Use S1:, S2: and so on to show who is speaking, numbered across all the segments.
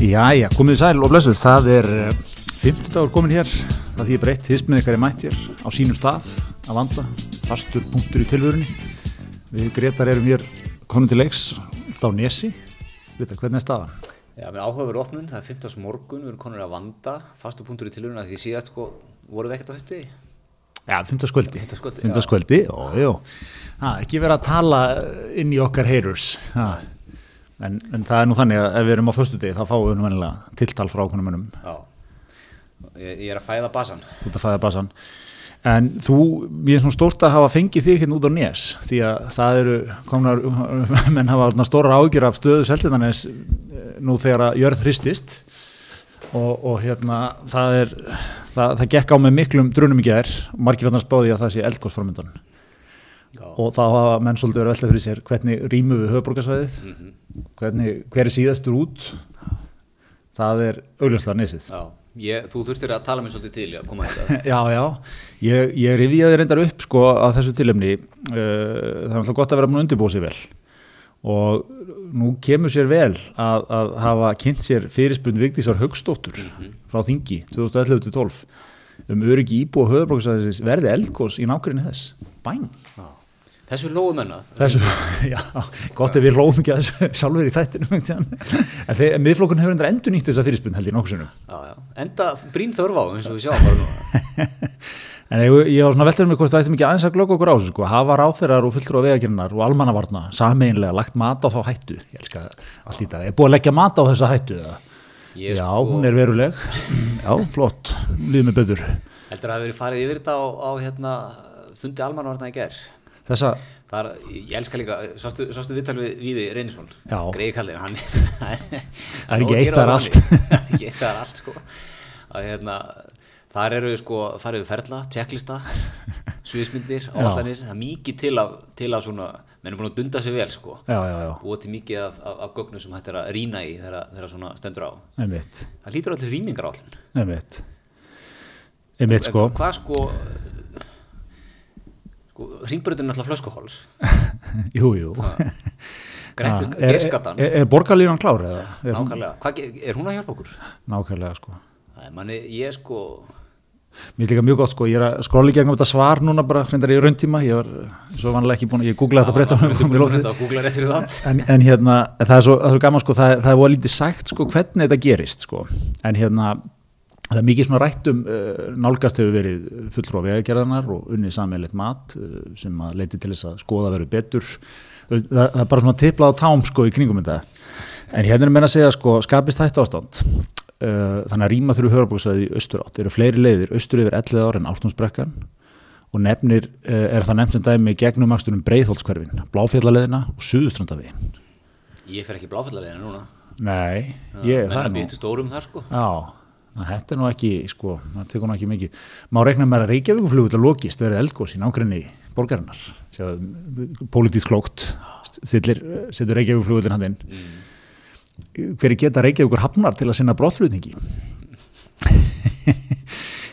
S1: Jæja, komið sæl og blessuð, það er 15 dagur komin hér, það því er breytt, hismið ykkar er mættir á sínum stað að vanda, fastur punktur í tilvörunni. Við Gretar erum hér konum til leiks, alltaf á Nesi, Gretar, hvernig er staðan?
S2: Já, menn áhuga verið opnun, það er 15. morgun, við erum konur að vanda, fastu punktur í tilurinn að því síðast sko vorum við ekkert á höfti.
S1: Já, 15 skvöldi,
S2: fimmtudagskvöldi, já.
S1: 15 skvöldi, ó, jó, ha, ekki vera að tala eh, inn í okkar heyrurs, ha. En, en það er nú þannig að ef við erum á föstudegi þá fáum við nú vennilega tiltal frá okkur mönnum
S2: Já, ég, ég er að fæða basan.
S1: út af fæðabasan en þú, ég er svona stórt að hafa fengið þig hérna út á nes því að það eru komnar menn hafa svona stóra ágjur af stöðu seltinanes nú þegar að jörð hristist og, og hérna það er það, það gekk á með miklum drunum í gær og margir annars báði að það sé eldgóðsformundan
S2: Já,
S1: og þá hafa menn svolítið verið að velta fyrir sér hvernig rýmu við höfuborgarsvæðið hvernig, hver er síðastur út það er augljóslega nesið
S2: já. Ég, þú þurftir að tala mér svolítið til í að koma að þetta.
S1: Já, já, ég, ég rifjaði reyndar upp sko að þessu tilumni uh, það er alltaf gott að vera múin undirbúið sér vel og nú kemur sér vel að, að hafa kynnt sér fyrirspurn Vigdísar Haugsdóttur frá Þingi 2011-12 um öryggi íbúa höfðbrókisæðis verði eldgós í nákvæmni þess bæn
S2: Já. Þessu lóum enna,
S1: þessu, já, gott ef við róum ekki að þessu sjálfur í þættinu einhvern tímann. en þeir- miðflokkun hefur reyndar endur nýtt þessa fyrirspurn held ég nokkursunum
S2: já, já. enda brín þörf á eins og við sjáum bara nú.
S1: En ég, ég var svona veldur um hvort það ættum ekki aðeins að glögg okkur á þessu sko, hafa ráþeirar og fulltrú á vegagernar og almannavarna sameinlega lagt mat á þá hættu, ég elska allt í dag, er búið að leggja mat á þessa hættu eða?
S2: Ég sko,
S1: Já, hún er veruleg, já, flott, líður mig betur.
S2: Heldur að það hafi verið farið yfir þetta á, á hérna, fundi almanvarna í gerð.
S1: Þessa,
S2: Þar, ég elska líka, sástu, sástu viðtal við Víði Reynisson,
S1: Já.
S2: greiði kallin, hann
S1: Það er ekki
S2: nóg að
S1: eitt,
S2: gera
S1: það er
S2: á
S1: allt.
S2: honum. Það er ekki eitt, það er allt, sko. Að, hérna, þar eru sko, farið við ferla, checklista, sviðsmyndir,
S1: Já.
S2: áallanir, það er mikið til af, til af svona, menn er búin að dunda sig vel, sko.
S1: já, já, já,
S2: Búið til mikið af, af, af gögnum sem hægt er að rýna í þegar, þegar svona stendur á.
S1: einmitt,
S2: Það lítur allir rýmingar állin.
S1: einmitt, einmitt sko,
S2: Hvað sko, sko ringbröndin er náttúrulega flöskuháls,
S1: jú, jú.
S2: Grettis-
S1: Ha, er-
S2: gerskatan.
S1: Er, er borgarlínan klár eða? Er hún-
S2: Nákvæmlega, Hvað, ge- er hún að hjálpa okkur?
S1: Nákvæmlega sko.
S2: Æ, manni, ég sko,
S1: Mér er líka mjög gott sko, ég er að skróla í gegnum þetta svar núna bara hrindar í rauntíma, ég var eh, svo vanlega ekki búin að, ég googlaði þetta breytta
S2: Maður- maður- maður- maður- að googla rétt fyrir það.
S1: En, en hérna, það er svo, það er svo gaman sko, það, það er voða lítið sagt sko hvernig þetta gerist sko, en hérna, það er mikið svona rættum uh, nálgast hefur verið fulltrú á vegagerðarnar og unnið sammeilegt mat uh, sem að leiti til þess að skoða verið betur, það, það er bara svona tiplað á tám sko í kringum þetta, en hérna er meina að segja sko, skapist hættu ástand, uh, þannig að rýma þurru höfabóksæði í austurátt, það eru fleiri leiðir, austur yfir 11 ára en ártúnsbrekkan, og nefnir, eh, er það nefnt sem dæmi gegnumakstunum breiðhólskverfin, bláfjallaleðina og suðustrandavegin.
S2: Ég fer ekki bláfallalegina núna.
S1: Nei, ég, það
S2: Menna
S1: er nú,
S2: býttu stórum þar sko.
S1: já, þetta er nú ekki, sko, það tekur nú ekki mikið. Má reikna með að Reykjavíkuflugur til að lokist verið eldgós í nágrinni borgarinnar, sjáðu, pólitísk klókt, stillir, setur Reykjavíkuflugur til hann inn. Hver geta Reykjavíkur hafnar til að sinna brottflutningi?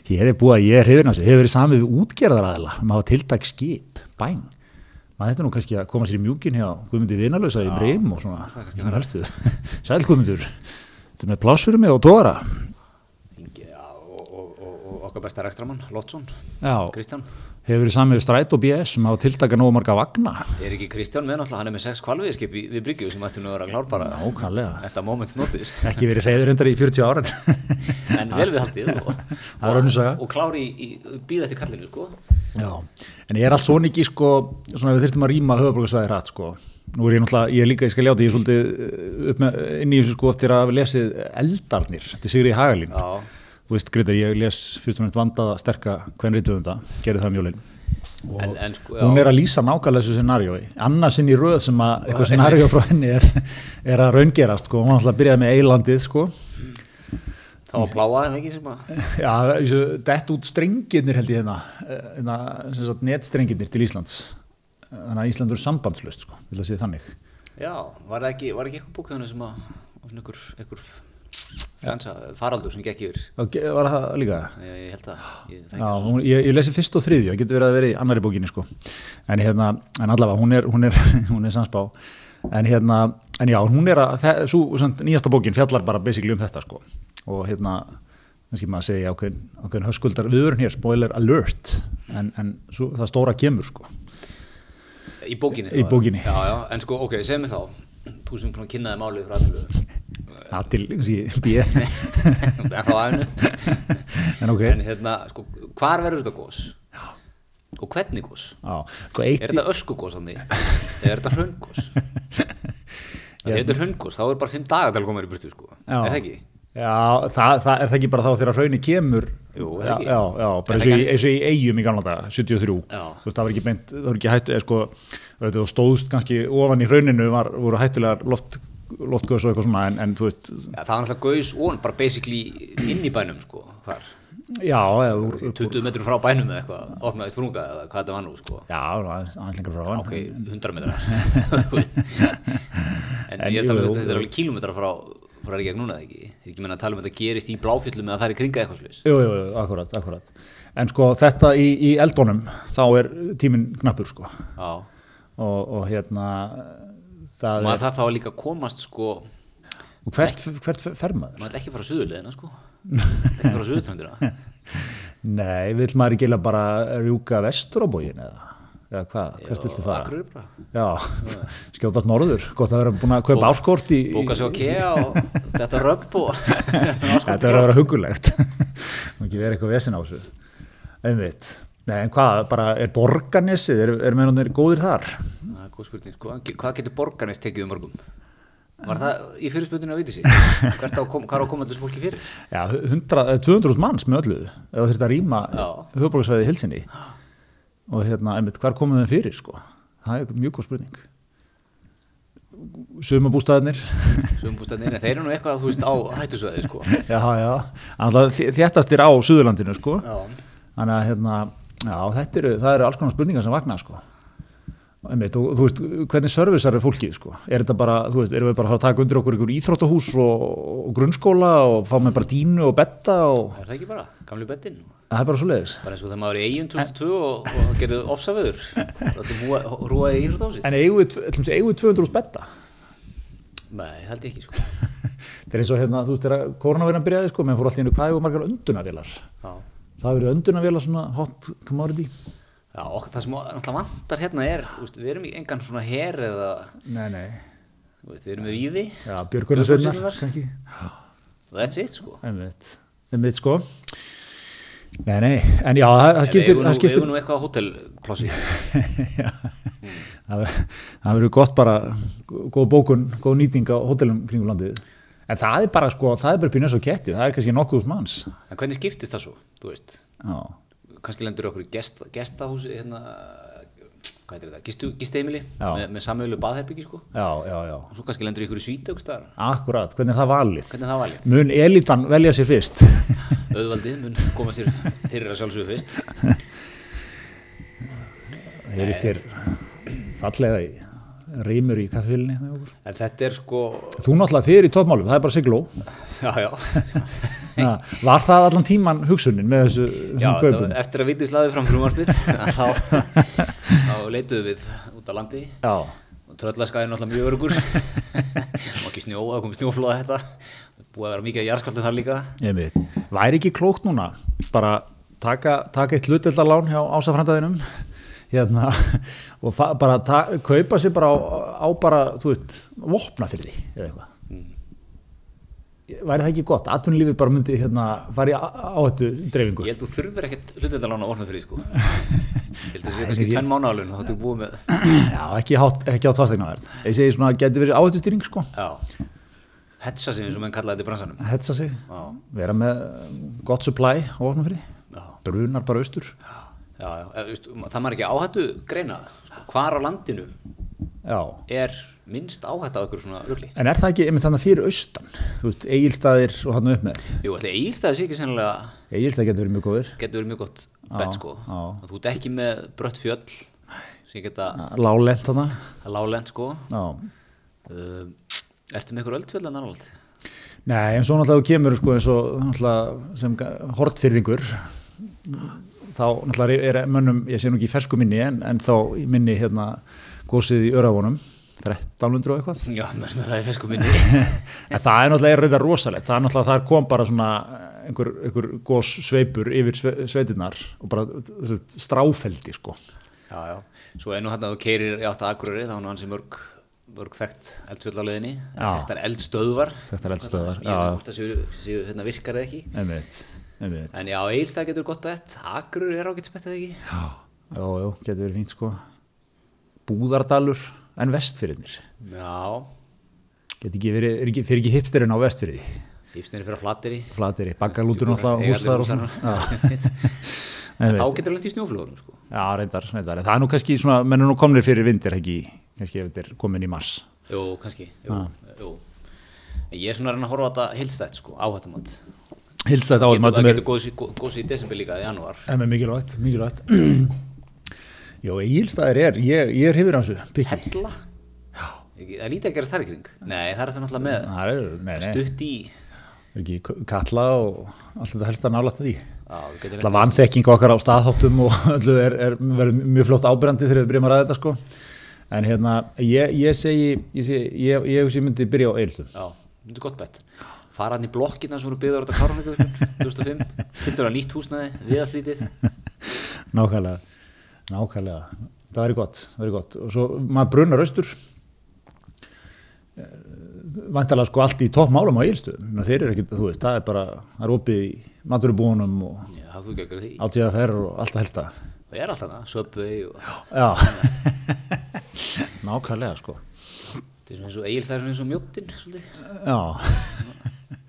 S1: Hér er búið að ég er hrifin á sig, hefur verið samið við útgerðaræðila um að hafa tiltak skip, bæn. Maður þetta nú kannski að koma sér í mjúkin hjá Guðmundi Vinalösa í Breim og svona, svona helstu. Sæl Guðmundur, þetta er með plásfyrir mig og tóra.
S2: Já, og, og, og, og okkar besta rekstramann, Lottsson,
S1: Já,
S2: Kristján.
S1: hefur verið samið við Stræt og BS um að hafa tiltaka nógu marga vagna.
S2: Er ekki Kristján með náttúrulega, hann er með sex kvalviðskip við, við Bryggju sem ættum nú að vera klár bara
S1: Ókallega.
S2: þetta moment notice.
S1: Ekki verið reyður endar í 40 ára.
S2: En vel við haldið og,
S1: Það er önnur saga.
S2: og, og klár í, í býða eftir kallinu sko.
S1: Já, en ég er allt svona ekki sko, svona við þyrftum að rýma höfuborgarsvæði hratt sko. Nú er ég náttúrulega, ég er líka, ég skal ljáta, ég er svolítið eh, upp með, inn í þessu sko eftir að hafa lesið Eldarnir, þetta er Sigri Hagalín.
S2: Já,
S1: Þú veist, Greitar, ég les fyrst og nefnt vandaða sterka hvern rítuvunda, gerði það um jólinn. Og
S2: En- en sko, já.
S1: hún er að lýsa nákvæmlega þessu scenariói. Annars inn í röð sem að eitthvað scenaríó frá henni er, er að raungerast sko. Hún ætla að byrjaði með Eilandið sko.
S2: þá að pláa það ekki sem að...
S1: Já, þessu, dett út strengirnir held ég hérna, eh, hérna sem sagt netstrengirnir til Íslands. Þannig að Ísland verður sambandslust, sko, vil að segja þannig.
S2: Já, var það ekki, var ekki eitthvað búkjöfni sem að, og svona ykkur, ykkur fransa, faraldur sem gekk yfir.
S1: Og ge- var það líka?
S2: Ég, ég held að, ég, það
S1: Já,
S2: ekki.
S1: hún, ég, ég lesi fyrst og þriðju, ég getur verið að vera í annari bókinni, sko. En, hérna, en allavega, hún er, hún er, hún er samspá. en hérna, en já, hún er að það, sú, samt, nýjasta bókin fjallar bara basically um þetta sko og hérna, kannski maður segja ákveðin, ákveðin höskuldar viðurinn hér, spoiler alert en, en svo, það stóra kemur sko
S2: Í bókinni?
S1: Í
S2: þá,
S1: bókinni.
S2: Já, já, en sko, ok, segð mér þá Þú sem búin að kynna þið málið frá aðtölu
S1: aðtil, kannski,
S2: Það er frá aðinu
S1: en ok
S2: En hérna, sko, hvar verður þetta gós? Já Og hvernig gós?
S1: Já, sko eitt
S2: Er þetta öskugós þannig? Eða er þetta hraungós? Ef þetta er hraungós, þá er bara fimm daga til að koma þér í burtu, sko
S1: Já.
S2: Er það ekki?
S1: Já, það, það er það ekki bara þá þegar hraunni kemur
S2: Jú, er
S1: já,
S2: það ekki?
S1: já, já, bara
S2: Er
S1: eins og,
S2: það
S1: í,
S2: ekki-
S1: eins og í eigum í gamla daga, 73
S2: Já.
S1: þú veist, það var ekki beint, það var ekki hætt eða sko, auðvitað þú stóðst kannski ofan í hrauninu var, voru hættulegar loft, loftgöðs og eitthvað svona en, en þú veist,
S2: Já, það var náttúrulega gaus og bara basically inn í bænum, sko Þar,
S1: já eða, úr, úr,
S2: 20 metrum frá bænum eða eitthvað Opnaði sprunga eða hvað þetta var nú, sko
S1: já, aðeins aðeins lengra frá
S2: ok, 100 metrar Þú veist. en
S1: En
S2: ég er að tala um
S1: jú,
S2: þetta, þetta
S1: jú.
S2: er alveg kílometra frá frá Reykjavík núna eða ekki, Ég er ekki meina að tala um að þetta gerist í bláfjöllum eða það er í kringa eitthvað slags
S1: Jú, jú, jú, akkurat, akkurat en sko þetta í, í eldónum þá er tíminn knappur sko og,
S2: já,
S1: og hérna það
S2: maður þarf þá líka að komast sko,
S1: er, og hvert, hvert fer maður?
S2: maður ætla ekki að fara suðurleðina sko, ekki að fara suðurströndina
S1: Nei, vill maður ekki eiginlega bara rjúka vestur á bógin eða, eða hvað, hvert viltu fara?
S2: akkur er bara
S1: Já, skjótast norður, gott að vera búin að kaupa áskort í, í
S2: bóka sér á kea og þetta röpp og
S1: þetta er að vera hugulegt, Má ekki vera eitthvað vesin á þessu, einmitt. Nei, en hvað, bara er borgarnesið, er, er mennarnir góðir þar?
S2: Það er góð spurning, sko. hvað getur borgarnes tekið um morgum? Var það í fyrirspöndinu að viti sig? Hvert á, að kom- hvað er á komandi þessu fólki fyrir?
S1: Já, 100, eh, 200 manns með öllu, ef þú þurft að rýma
S2: Já.
S1: höfbruksvæðið hilsinni og hérna, einmitt, hvar komum við fyrir, sko? Það er mjög góð spurning. Sumabústæðinir,
S2: Sumbústæðinni, þeir eru nú eitthvað þú veist á hættusvæði sko.
S1: Já, já, alltaf þéttastir á Suðurlandinu sko
S2: Já.
S1: Þannig að hérna, já, þetta eru, það eru alls konar spurningar sem vakna sko Einmitt, og, Þú veist, hvernig servisar er fólkið sko Er þetta bara, þú veist, erum við bara að fara að taka undir okkur ykkur íþróttahús og, og grunnskóla og fá með bara dínu og betta og
S2: Er það ekki bara, gamli bettinn?
S1: það er bara svo leiðis
S2: Bara eins og þegar maður er í eigin 2002 og, og það gerði ofsafiður. Það rúaði í íþróttásið?
S1: En eigum við, ætlum sé, eigum við 200 hús betta
S2: Nei, það held ég ekki sko.
S1: Þetta er eins og hérna, þú veist, þegar koronavirðan byrjaði sko, menn fór allir einu hvað hefur margar öndunavélar
S2: Já.
S1: Það hefur öndunavélar svona hot commodity
S2: Já, og það sem alltaf vantar hérna er, úst, við erum í engan svona her eða,
S1: Nei, nei
S2: þú veist, við erum með víði.
S1: Já, björgunarsveinar,
S2: Björgunarsveitirnar.
S1: kannski
S2: That's it sko.
S1: Einmitt, einmitt sko Nei, nei, en já, það, það
S2: En við
S1: skiptir
S2: eigum nú-
S1: það
S2: við
S1: skiptir
S2: eigum nú eitthvað á hótelplássi.
S1: Já. það það verður gott bara góð bókun, góð nýting á hótelum kringum landið en það er bara sko, það er bara pínu eins og ketti það er kannski nokkuð úr manns
S2: En hvernig skiptist það svo, þú veist?
S1: já,
S2: kannski lendur okkur í gest, gestahúsi hérna, hvað heitir þetta, gistu, gisteimili
S1: Já.
S2: með, með samölu baðherbyggi sko
S1: já, já, já
S2: og svo kannski lendur ykkur í svítökstar
S1: akkurat, hvernig er það valið
S2: hvernig er það valið,
S1: mun elitan velja sér fyrst
S2: auðvaldið mun koma sér fyrir að sjálfsögðu fyrst
S1: heyrist þér fallega í rýmur í kaffilni
S2: en þetta er sko
S1: þú náttúrulega þér í toppmálum, það er bara sigló
S2: já, já,
S1: ja, var það allan tíman hugsunin með þessu,
S2: já
S1: þessum
S2: þetta,
S1: kaupum
S2: var- eftir að vitið slaði fram frumvarpið að þá, þá leituðum við út á landi
S1: Já,
S2: og tröllaskaði er náttúrulega mjög örgur og ekki snjóa, það komið snjóflóða þetta búið að vera mikið jarðskaldu þar líka
S1: ég veit. Væri ekki klókt núna bara taka, taka eitt hluteldalán hjá ásafrændaðinum hérna, og fa- bara ta, kaupa sér bara á, á bara, þú veit, vopna fyrir því eða eitthvað. Væri það ekki gott? Atvinnulífið bara myndi hérna, fara í á- áhættu dreifingu.
S2: Ég held þú þurfir ekkert hlutendalán á orna fyrir því sko Ég held að sé kannski tvenn mánaðalun þá ertu búið með
S1: Já, ekki, hátt, ekki átt fastegnaverð. Ég segi svona, geti verið áhættu stýring, sko.
S2: Já Hetsa sig eins og menn kallaði þetta í bransanum
S1: Hetsa sig,
S2: Já,
S1: vera með gott supply á vopna fyrir
S2: já,
S1: Brunar bara austur.
S2: já, já. Eða, veist, um, Það maður ekki áhættu greina sko, Hvar á landinu
S1: Já,
S2: er minnst áhætt á ykkur svona rugli
S1: En er það ekki einmitt þannig fyrir austan? Þú veist, eigilstaðir og hann upp með.
S2: Jú, ætli Egilstaði sé ekki sennilega
S1: Eigilstaðir getur verið mjög góðir.
S2: getur verið mjög gott bett sko
S1: já.
S2: Að Þú ert ekki með brött fjöll sem geta
S1: Lálent þannig.
S2: lálend sko
S1: Já.
S2: uh, Ertu með ykkur öldfjöll en annað
S1: Nei, en svo náttúrulega þú kemur sko eins og náttúrulega sem ga- hortfyrðingur þá náttúrulega er mönnum, ég sé nú ekki í fersku minni en, en þá í minni hérna gósið í öravónum 1300 og eitthvað
S2: Já, menn með það í fesku minni.
S1: en það er náttúrulega reyða rosalegt það er náttúrulega þar kom bara svona einhver, einhver gos sveipur yfir sve, sveitinnar og bara þessi, stráfeldi sko
S2: já, já. Svo ennú hann að þú keirir í átt að Akureyri, þá er nú hans í mörg, mörg þekkt eldfjöld á leiðinni.
S1: Já.
S2: Þekktar eldstöðvar.
S1: Þekktar eldstöðvar,
S2: Ég
S1: já, já.
S2: veit hvort það séu, séu hérna virkar eða ekki.
S1: einmitt, einmitt.
S2: En já, Egilstað getur gott bett, Akureyri er ágætt spett eða ekki.
S1: já, já, já, getur verið fínt sko búðardalur en vestfyrirnir
S2: Já,
S1: getur ekki verið, er ekki, fyrir ekki hipsterinn á vestfyrið
S2: hýpstinni fyrir að flattir í.
S1: flatir í baggalútur náttúrulega hús þar og svona já,
S2: Þá
S1: einmitt.
S2: getur lent í snjóflugurum, sko.
S1: já, reyndar, reyndar En það er nú kannski svona, menn er nú komnir fyrir vindir ekki, kannski ef þetta er komin í mars
S2: Jú, kannski. Jú, jú. En Ég er svona að reyna að horfa á þetta heilstætt, sko, áhættumat.
S1: hilsa þetta
S2: Getur,
S1: áður
S2: það
S1: sem er
S2: getur góðs í- gó- góðs í desember líka, í janúar.
S1: Emme, mikilvægt, mikilvægt. Jó, Egilstaðir er, ég, ég er hefur á þessu, pikki.
S2: Hella? Ekki- Það er lítið að gerast þar í kring. Nei, það er þetta náttúrulega með
S1: Það er, nei, nei,
S2: stutt í.
S1: er ekki k- kalla og allt þetta helst að nála því.
S2: Já, við getum
S1: Alltaf vanþekking okkar á staðháttum og öllu er, er verið mjög flott ábyrjandi þegar við byrjum að ræða þetta sko. En hérna, ég, ég segi, ég, segi, ég, ég, ég myndi byrja á Egilstum.
S2: Já, þetta er gott bett. Fara hann í blokkina sem voru byggður á þetta kárháningavirkjun 2005. Kynntur hann nýtt húsnæði, viðarslítið.
S1: Nákvæmlega, nákvæmlega. Það verið gott, það verið gott. Og svo maður brunnar austur. vantalega sko allt í toppmálum á Egilstöðum þeir eru ekki, þú veist, það er bara það er opið í maturubúnum og
S2: Já, það þú gekkar því.
S1: átíðaferð og allt að helsta
S2: Það er alltaf það, söpvei og
S1: já nákvæmlega sko
S2: þetta er svona eins og eigilstæður eins og mjóttin, svolítið.
S1: já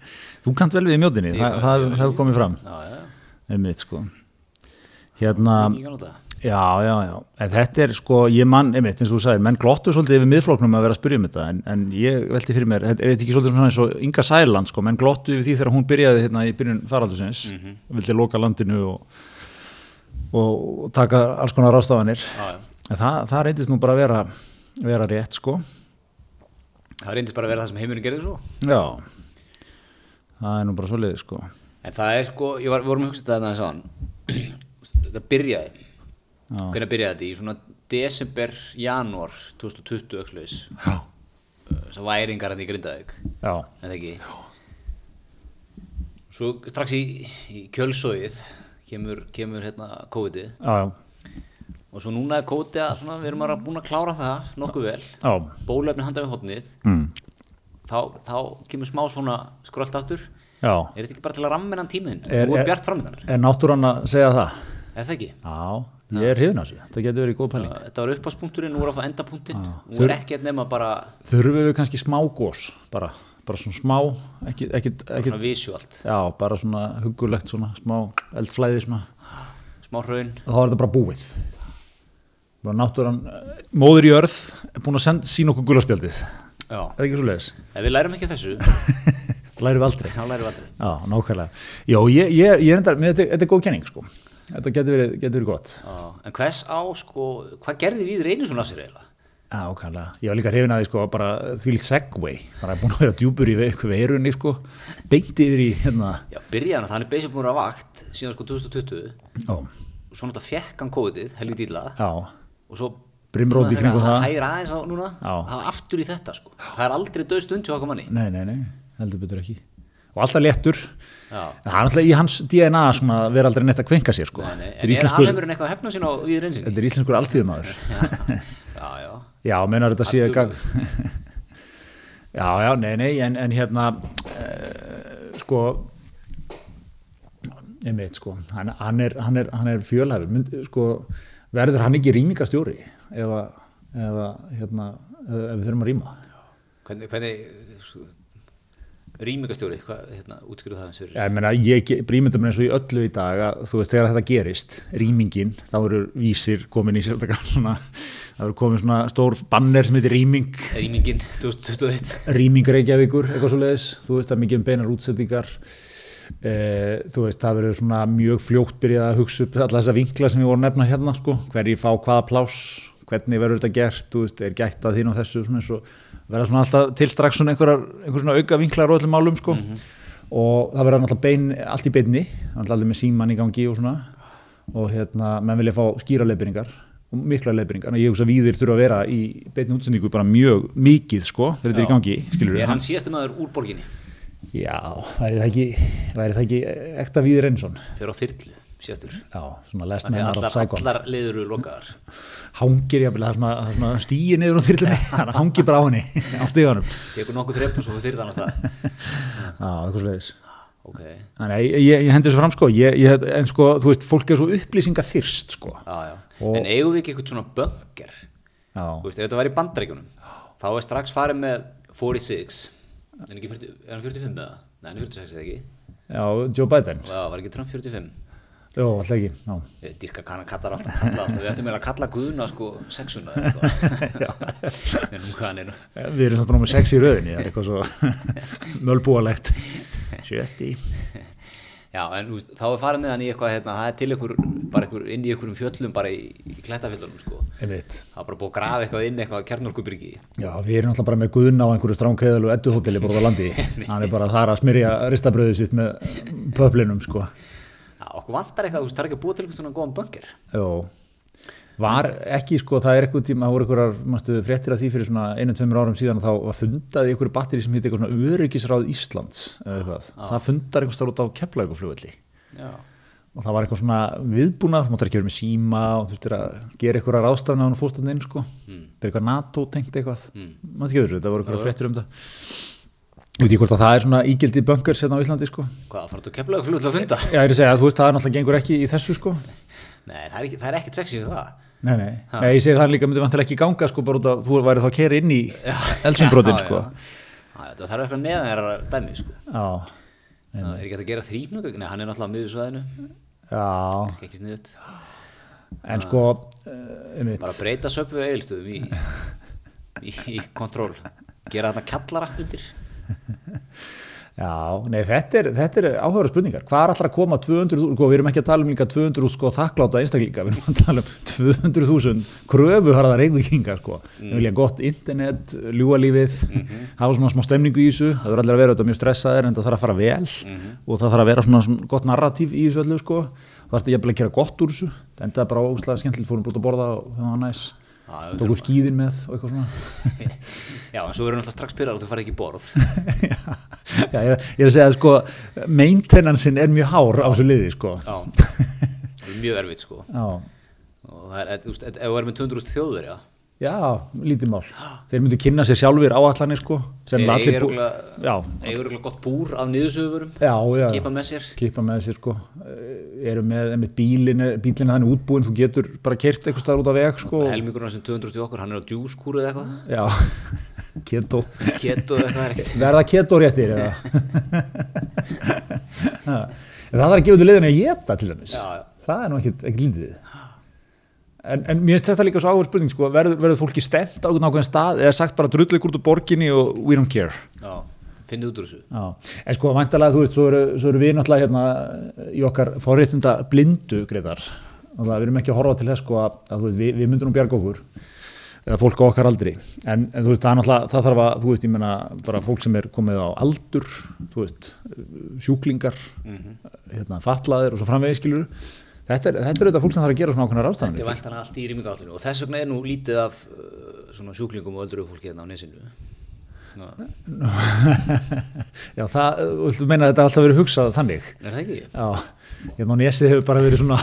S1: þú kant vel við í mjótinni, það, það, það hefur komið fram
S2: Já, já,
S1: einmitt sko hérna,
S2: ekki kannu það.
S1: já, já, já en þetta er sko, ég mann, einmitt, eins og þú sagðir menn glottu svolítið yfir miðflóknum að vera að spyrja um þetta en, en ég velti fyrir mér, þetta er þetta ekki svolítið svona eins og Inga Sæland sko, menn glottu yfir því þegar hún byrjaði hérna í byrjun faraldusins vildi loka landinu og, og taka alls konar rástafanir
S2: Já, já.
S1: En það, það reyndist nú bara að vera, vera rétt sko.
S2: Það reyndist bara að vera það sem heimurinn gerði svo.
S1: Já, það er nú bara svolítið sko.
S2: En það er sko, ég var, við vorum að hugsa þetta þannig að hann Þetta byrjaði Hvernig byrjaði þetta? Í svona desember, janúar 2020 öxluðis
S1: Já.
S2: Svo væringar hann í Grindavík En
S1: Já,
S2: það ekki Svo strax í, í kjölsóið kemur, kemur hérna COVID-ið
S1: já, já,
S2: Og svo núna er COVID-ið að svona, við erum bara búin að klára það nokkuð vel
S1: já,
S2: Bólefni handa við hotnið
S1: mm.
S2: Þá, þá kemur smá svona skrölt aftur
S1: já.
S2: Er þetta ekki bara til að ramma innan tímiðin?
S1: Er-
S2: Þú
S1: er-
S2: er bjart framöndan,
S1: Er náttúrann að segja það?
S2: er það ekki?
S1: Já, ég er hrifin á þessu. Það getur verið góð pæling.
S2: Þetta var uppáspunkturinn, nú er að fá endapunktinn Nú
S1: Þur-
S2: er ekkert nema bara
S1: Þurfum við kannski smá gós, bara, bara svona smá, ekki, ekki, ekki,
S2: svona visuált
S1: já, bara svona hugulegt svona, smá eldflæði svona.
S2: Smá hraun
S1: þá er þetta bara búið bara náttúran móður í örð er búin að senda sín okkur gulaspjaldið er
S2: Já.
S1: ekki svo leiðis,
S2: Ef við lærum ekki af þessu, þá
S1: lærum við aldrei
S2: lærum við aldrei
S1: já, nákvæmlega, já, ég, ég, ég er enda mér, þetta, þetta er góð kenning, sko þetta getur verið, getur verið gott,
S2: Já. En hvers á, sko, hvað gerði við reynir svona af sér eiginlega?
S1: já, nákvæmlega ég var líka hrifin að því, sko, bara þvílitt segway bara búin að vera djúpur í ve- eitthvað veirunni, sko beint yfir í, hérna
S2: Já, byrjaðan, þannig beisum búin að vera vakt síðan sko 2020
S1: ó,
S2: og svo náttúrulega fekk hann kóðið, helvið dýla
S1: já,
S2: og svo
S1: Brimrót í kringum það.
S2: Það hægir aðeins á núna,
S1: Já.
S2: það var aftur í þetta, sko Það er aldrei döð stund hjá okkur manni
S1: nei, nei, nei heldur betur ekki, og alltaf léttur
S2: Já.
S1: En það er alltaf í hans DNA svona að vera aldrei neitt að kvinka sér, sko
S2: Nei,
S1: Þetta
S2: nei.
S1: er
S2: En er
S1: íslenskur-
S2: alheimurinn eitthvað að hefna sín á við reynir
S1: Þetta er íslenskur alþýðumadur.
S2: Já, já,
S1: Já, menar þetta síðan
S2: Allur.
S1: gang. já, já, nei, nei, en, en hérna, uh, sko, ég veit, sko, hann, hann er, hann er, hann er fjölhæfi, Mynd, sko, verður hann ekki rýmingastjóri ef að, ef að, hérna, ef ef við þurfum að rýma?
S2: hvernig, hvernig rýmingastjóri, hvað, hérna, útskýrðu það eins fyrir
S1: Já, ég meina, ég rýmyndum mér eins og í öllu í dag að þú veist, þegar þetta gerist, rýmingin, þá eru vísir komin í sérstakann svona, það eru komin svona stór banner sem heitir rýming
S2: rýmingin 2021
S1: rýming Reykjavíkur, eitthvað svo leiðis þú veist það er mikið um beinar útsettingar e, þú veist það verður svona mjög fljótt byrjað að hugsa upp alla þessa vinkla sem ég voru að nefna hérna sko, hverjir fá hvaða pláss hvernig verður þetta gert, þú veist, er gætt að þín og þessu, svona eins og verða svona alltaf til strax svona einhverjar, einhver svona auka vinklar og öllum málum sko, og það verður náttúrulega bein, allt í beinni, náttúrulega allir með símann í gangi og svona, og hérna, menn vilja fá skýra leiðbyrningar og mikla leiðbyrningar, þannig að ég hugsa að víðir þurfa að vera í beinni útsendingu bara mjög mikið sko, þegar þetta er í gangi, skilur
S2: Er hann síðasti maður úr borginni?
S1: Já, væri það ekki, væri það ekki eh, ekta víðir einsson
S2: Fyrir á þyrlu, síðastur
S1: Já, svona lest með
S2: Þannig að
S1: Harald
S2: allar,
S1: Sækon
S2: allar leiður eru lokaðar
S1: Hangir jafnvel, það er svona- það er svona stíi niður úr þyrlunni, hann hangir bara á henni á stíganum
S2: Tekur nokkuð þrepp og svo þyrla annars það
S1: Já, eitthvað sliðis
S2: Ok,
S1: Þannig að ég, ég, ég hendi þessu fram sko, ég, ég, en sko, þú veist, fólk er svo upplýsinga þyrst sko
S2: já, já
S1: Og-
S2: En eigum við ekki eitthvað svona bönger?
S1: Já,
S2: Þú veist, ef þetta væri í bandaríkunum Þá er strax farið með 46 En ekki 40, er hann 45 með það? Nei, hann er 46 eða ekki
S1: já, Joe Biden
S2: Já, var ekki Trump 45?
S1: Jó, alltaf ekki, já
S2: Ég dýrka hvað hann kallar alltaf, kallar alltaf. Við ættum eiginlega að kalla guðuna sko sexuna eða eitthvað. En nú hvað hann er nú
S1: Eh, Við erum samt námið sex í rauðinni, það er eitthvað svo mölbúalegt. Sjötti.
S2: Já, en þú veist, þá er farið með hann í eitthvað hérna, það er til ykkur, bara ykkur, inn í ykkur fjöllum bara í, í klættafjöllunum sko.
S1: Einmitt.
S2: Það er bara búið að grafa eitthvað inn eitthvað kjarnorkubyrgi.
S1: Já, við erum alltaf bara með guðna á einhverju stránkæðal og edduhóteli bara á landi. Hann er bara þar að smyrja ristabröðu sitt með pöflinum, sko.
S2: Já, okkur vantar eitthvað, þú veist, það er ekki að búa til eitthvað svona góðan bönger.
S1: Jó. Var ekki, sko, það er eitthvað tíma, það voru einhverjar, mannstu, fréttir af því fyrir svona einu, tveimur árum síðan og þá var fundað í einhverju batteri sem hitt eitthvað svona öryggisráð Íslands, eða eitthvað. Það fundar einhvers þar út á Keflavíkurflugvelli.
S2: Já.
S1: og það var eitthvað svona viðbúnað, þú máttur ekki verið með síma og þú þurftir að gera eitthvað ráðstafna á hún fórstöndin inn sko, þetta er eitthvað NATO tengt eitthvað, mm. maður ekki verið þetta voru eitthvað fréttir um það Ég veit ég hvort að það er svona ígildi bönkers hérna á Íslandi sko.
S2: Hvað, farðu að kemla eitthvað að funda?
S1: Já, ég er að segja að þú veist, það er náttúrulega gengur ekki í þessu sko.
S2: Nei, það er, ekki, það er ekkert sexy við það.
S1: Nei, nei, nei ég segi það líka myndi vantilega ekki ganga sko, bara út að þú væri þá að kera inn í eldsumbrotinn
S2: Já,
S1: sko.
S2: já. Já, þetta þarf eitthvað neðan þeirra dæmi, sko.
S1: Já,
S2: Það er ekki hægt að gera þrýfnug, nei, hann er náttúrulega á miðjusvæðinu,
S1: já,
S2: ekki sniðut.
S1: en sko, eh, einmitt,
S2: Bara breyta söpfu eilstöðum í, í, í kontról. Gera þarna kallara undir.
S1: Já, nei, þetta er, þetta er áhverju spurningar. Hvað er allra að koma 200.000, sko, við erum ekki að tala um líka 200.000 sko þakkláta einstaklinga, við erum að tala um 200.000 kröfuharða reykvíkinga, sko.
S2: Mm.
S1: Við vilja gott internet, ljúalífið,
S2: Mhm.
S1: hafa svona smá stemningu í þessu, það verður allir að vera auðvitað mjög stressaðir en það þarf að fara vel
S2: Mhm.
S1: og það þarf að vera svona, svona gott narratív í þessu öllu, sko. Það þarf jafnvel að gera gott úr þessu, það endaði bara óslega skemmtilegt, fórum brútt að borða og það var næs,
S2: Já, við
S1: tókum skýðin með og eitthvað svona.
S2: Já, en svo verður náttúrulega strax pyrrar og þú farið ekki í borð.
S1: Já, já, ég, er, ég er að segja að sko maintenancein er mjög hár á þessu liði sko.
S2: Já, það er mjög erfitt, sko.
S1: Já.
S2: Og það er, þú veist, ef þú er með 200.000 þjóður, já.
S1: já, lítið mál. Þeir myndu kynna sér sjálfur áallanir sko. sem
S2: Þeir
S1: allir
S2: eiga
S1: bú-
S2: örugglega-
S1: já,
S2: Eður eitthvað gott búr af niðursöfurum,
S1: já, já.
S2: kipa með sér.
S1: Kipa með sér sko. Eh, Eru með, með bílin, bílin þannig útbúin, þú getur bara kert eitthvað staðar út á veg sko.
S2: Helmingurinn sem 200.000 í okkur, hann er á djúskúru eða eitthvað.
S1: Já, keto.
S2: Keto eða eitthvað er ekkert.
S1: Verða keto réttir eða? Ha. En það þarf að gefa út í liðinu að geta til dæmis.
S2: Já, já.
S1: það er nú ekkert, ekkert lítið en, en mér finnst þetta líka svo áhverð spurning sko, verður, verður fólki stemt á einhvern ákveðin stað eða sagt bara drullu ykkur út úr borginni og we don't care
S2: Já, finnið út úr þessu.
S1: Já. en sko væntalega þú veist svo eru, svo eru við náttúrulega hérna í okkar forréttinda blindu greitar og það við erum ekki að horfa til þess sko að, að þú veist, við, við myndum nú bjarga okkur eða fólk á okkar aldri en, en þú veist það er náttúrulega það þarf að þú veist ég menna bara fólk sem er komið á aldur þú veist sjúklingar
S2: Mhm.
S1: hérna fatlaðir og svo framvegis skilur þetta er, þetta er þetta fólk sem þarf að gera svona sko. ákveðna ráðstæðanir
S2: Þetta er vantan allt í rýmingállinu og þess vegna er nú lítið af uh, svona sjúklingum og öldru fólki hérna á nesinu. Ná,
S1: Já, það, þú viltu meina að þetta hafi alltaf verið hugsað þannig?
S2: er það ekki?
S1: Já, ég ná nesið hefur bara verið svona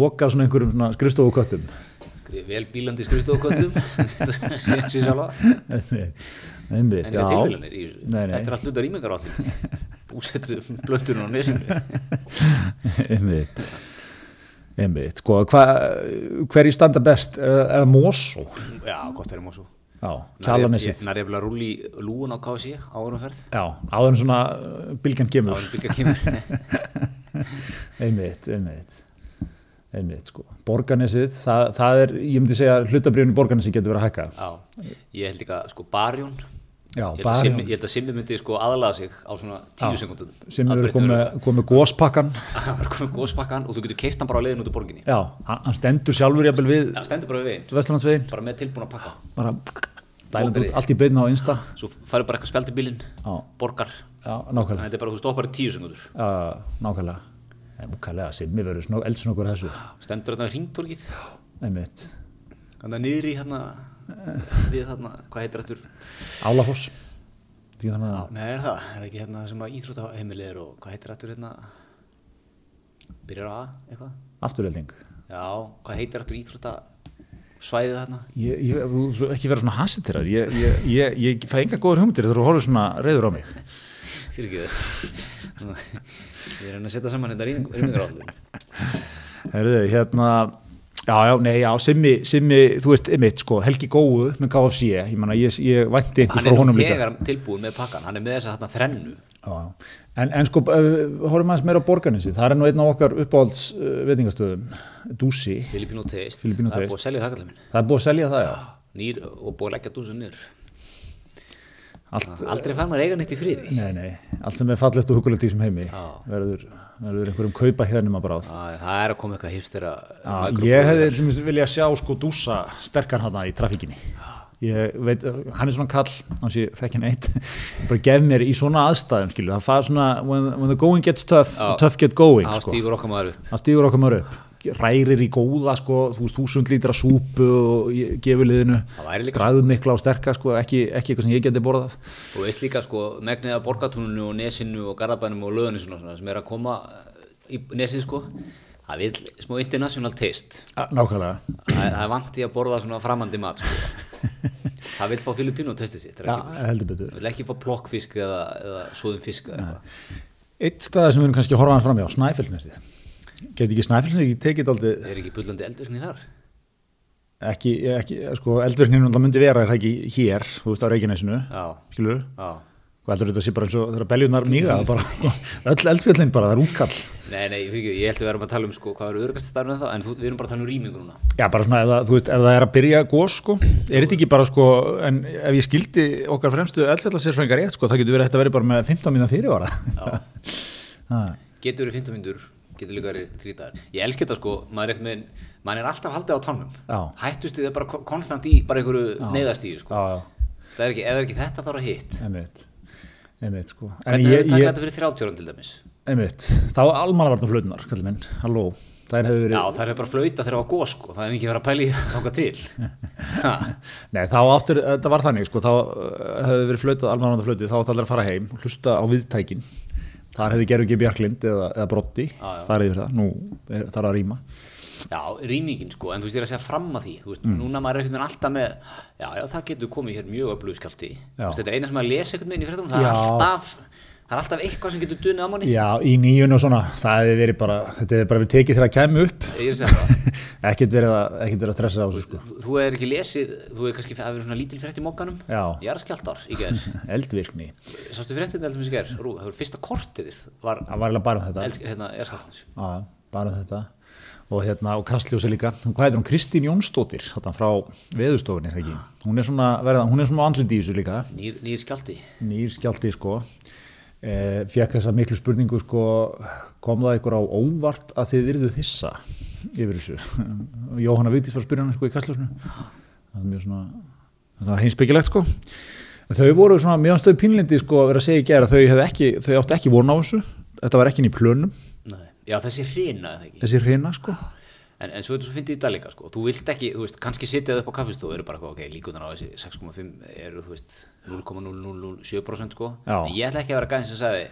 S1: mokað svona einhverjum svona skrifstofuköttum.
S2: Skri- Vel bílandi skrifstofuköttum, ég sé sjálfa.
S1: Einmitt,
S2: En
S1: já.
S2: ekki tilvílanir í þessu.
S1: Nei, nei.
S2: Þetta er allt hluta rýmingállinu. Búsettu blöndurinn á nesinu.
S1: Einmitt. Einmitt, sko, hva, hverji standa best? Eh, Eða Mosó?
S2: Já, gott
S1: um
S2: verið mósu.
S1: Já, Kjallanesið.
S2: Nær ég bila rúli lúun á KSI áðurumferð.
S1: Já, áður en svona eh, bylgjan kemur.
S2: Áður byggar kemur.
S1: Einmitt, einmitt. Einmitt, sko. Borgarnesið, það, það er, ég myndi segja, hlutabriðun í borgarnesið getur verið að hækka.
S2: Já, ég held líka sko barjón
S1: Já,
S2: ég held, að
S1: Barjón.
S2: Simmi, ég held að Simmi myndi sko aðlaða sig á svona tíu sekundum
S1: sem hefur komið, komið góspakkan
S2: Það er komið góðspakkan og þú getur keift hann bara á leiðin út úr borginni
S1: já, hann hann stendur sjálfur jafnvel við
S2: Það stendur bara við veginn,
S1: Vestlandsvegin
S2: bara með tilbúin að pakka
S1: bara dælandi
S2: Ódrið.
S1: út allt í beinna á Insta
S2: Svo færðu bara eitthvað spjaldi bílinn,
S1: Já.
S2: borgar
S1: já,
S2: Þannig að
S1: nákvæmlega
S2: þetta er bara, þú stoppar í tíu sekundur
S1: uh, nákvæmlega en múkallega, Simmi verður eldsnokur þessu
S2: Stendur þetta við hringtorkið
S1: einmitt
S2: Þannig að niður í hérna Við þarna, hvað heitir aftur?
S1: Álafoss Þetta er ekki þannig að-
S2: Nei, er það, er það ekki hérna sem að íþróttaheimilið er og hvað heitir aftur hérna Byrjar á A, eitthvað?
S1: afturvelding
S2: Já, hvað heitir aftur íþrótta svæðið þarna?
S1: Ég, ég, þú- þú- ekki vera svona hasið til það ég, ég, ég, ég fæ enga góður hugmyndir þegar þú horfir svona reyður á mig
S2: Fyrir ekki þau Við erum að setja saman þetta rýmingar áhaldun
S1: Herðu, hérna Já, já, nei, já, Simmi, Simmi, þú veist, einmitt, sko, Helgi Góu með KFC, ég manna, ég, ég vænti einhver
S2: Hann
S1: frá
S2: er nú
S1: honum líka.
S2: þegar tilbúin með pakkan, hann er með þess að þarna þrennu
S1: Já, já. en, en sko, ef við horfum aðeins meira á borganessi, það er nú einn af okkar uppáhalds uh, veitingastöðum, Dúsi,
S2: Filipino Taste,
S1: Filipino
S2: það
S1: Taste.
S2: er búið að selja það kallar minn
S1: það er búið að selja það, já,
S2: Nýr og búið að leggja dúsin nýr
S1: allt,
S2: Aldrei fann maður eiga neitt í friði
S1: nei, nei, allt sem er fallegt og hugulegt í þessum heimi,
S2: Já.
S1: verður, verður einhverjum kaupa hérnum að bráð.
S2: Æ, Það er að koma eitthvað hipstera
S1: Já,
S2: makróbúð.
S1: ég hefði til dæmis viljað sjá sko dúsa sterkar hana í trafíkinni ég veit, hann er svona kall hans ég þekki hann eitt bara gef mér í svona aðstæðum skilu það fara svona, when, when the going gets tough
S2: Já.
S1: the tough get going
S2: Þá
S1: sko.
S2: stígur okkar maður upp
S1: það stígur okkar maður upp rærir í góða sko, þú veist, þúsund lítra súpu og ég- gefur liðinu
S2: Það væri líka
S1: græðumikla og sterka sko, ekki, ekki eitthvað sem ég geti borðað
S2: og veist líka sko megnið af borgatúninu og nesinu og garðabænum og löðinu svona, svona sem er að koma í nesið sko það vil smá international taste
S1: Ah, nákvæmlega
S2: það er, það er vant í að borða svona framandi mat sko. það vil fá filipínu testið sitt það er
S1: ja,
S2: ekki-
S1: heldur betur
S2: það vil ekki fá plokkfisk eða, eða svoðum fisk eða eitthvað.
S1: eitt stað sem við erum kannski að horfa hann fram í á Snæfellsnesi geti ekki Snæfellsnesi tekið aldrei
S2: er ekki bullandi eldvirkni þar
S1: ekki, ekki sko, eldvirknin náttúrulega myndi vera er það ekki hér, þú veist, á Reykjanesinu
S2: já,
S1: skilur,
S2: já
S1: hvað heldur þetta sé bara eins og þegar beljurnar mýga, það er bara öll eldfjöllin bara, það er útkall
S2: nei, nei, fyrir ekki, ég held við erum að tala um sko hvað eru örgast starfnið það en þú, við erum bara að tala um rýmingur núna
S1: já, bara svona, ef það, þú veist, ef það er að byrja gos, sko, er þetta ekki bara, sko en ef ég skildi okkar fremstu eldfjallasérfrængar rétt, sko, það getur verið að þetta verið bara með 15 mínu fyrirvara Ha,
S2: getur verið 15 mínútur getur líka verið 3 dagar ég elsk þetta sko, maður er, ekkert með, maður er alltaf haldið á tannum
S1: Já.
S2: hættust þið bara ko- konstant í bara einhverju neyðastíu sko.
S1: já, já,
S2: það er ekki, ef það er ekki þetta þá er það hitt
S1: einmitt einmitt, sko en
S2: hvernig hefur
S1: ég,
S2: takað
S1: ég,
S2: þetta fyrir 30 árum til dæmis
S1: einmitt, þá almannavarna flöðnar, kallar minn, halló þær hefur verið
S2: já, það er bara að flauta þegar það var góð sko. það er ekki verið að pæli þáka til Ha.
S1: Nei, þá áttur, þetta var þannig sko, þá eh, hefði verið flautað, almanna flötið, þá átti allir að fara heim og hlusta á viðtækin. Þar hefði gerðu ekki Bjarklind eða, eða Brotti,
S2: já.
S1: þar yfir það, nú er, þar að rýma.
S2: já, rýmingin sko, en þú veist ég er að segja fram að því Þú
S1: Mm.
S2: veist, núna maður er einhvern veginn alltaf með já, já, það getur komið hér mjög öflug skjálti
S1: Já.
S2: þetta er eina sem maður lesi einhvern veginn í fréttum það er,
S1: Já.
S2: alltaf, það er alltaf eitthvað sem getur dunið á manni
S1: Já, í nýjun og svona, það hefði verið bara, þetta hefði bara verið tekið þegar að kæmi upp,
S2: ég er að segja það
S1: ekkert verið að, ekkert verið að stressa á þessu sko.
S2: Þú er ekki lesið, þú er kannski að vera svona lítil frétt í mokkanum
S1: Já.
S2: Jarðskjaldar í gerð
S1: Eldvirkni,
S2: Sástu fréttin eldum í gerð, Rú, það var fyrsta kortirið var
S1: það var eiginlega bara um þetta,
S2: elds, hérna, jarðskjaldar
S1: já, bara um þetta. Og hérna, og Kastljósi líka, hún, hvað heitir hún, Kristín Jónsdóttir, þarna frá veðustofinni, er það ekki? Hún er svona, verða, hún er svona andlit í þessu líka.
S2: Nýr, nýr skjaldi
S1: nýr skjaldi sko e, fekk þessa miklu spurningu sko kom það ykkur á óvart að þið yrðu hissa yfir þessu Jóhanna Vigdís var að spyrja hann sko í kastljósinu það var mjög svona það var heimspekilegt sko en þau voru svona mjög stöðu pínlindi sko að vera að segja í gera þau, hefðu ekki, þau áttu ekki von á þessu þetta var ekki inn í plönum
S2: Nei. Já, þessi hrina eða ekki
S1: þessi hreina sko
S2: En, en svo þetta svo fyndið í dag líka, sko Þú vilt ekki, þú veist, kannski sitja það upp á kaffistofu og eru bara, ok, líkunar á þessi 6,5 eru, þú veist, 0,007% sko
S1: Já.
S2: En ég ætla ekki að vera gæðin sem sagði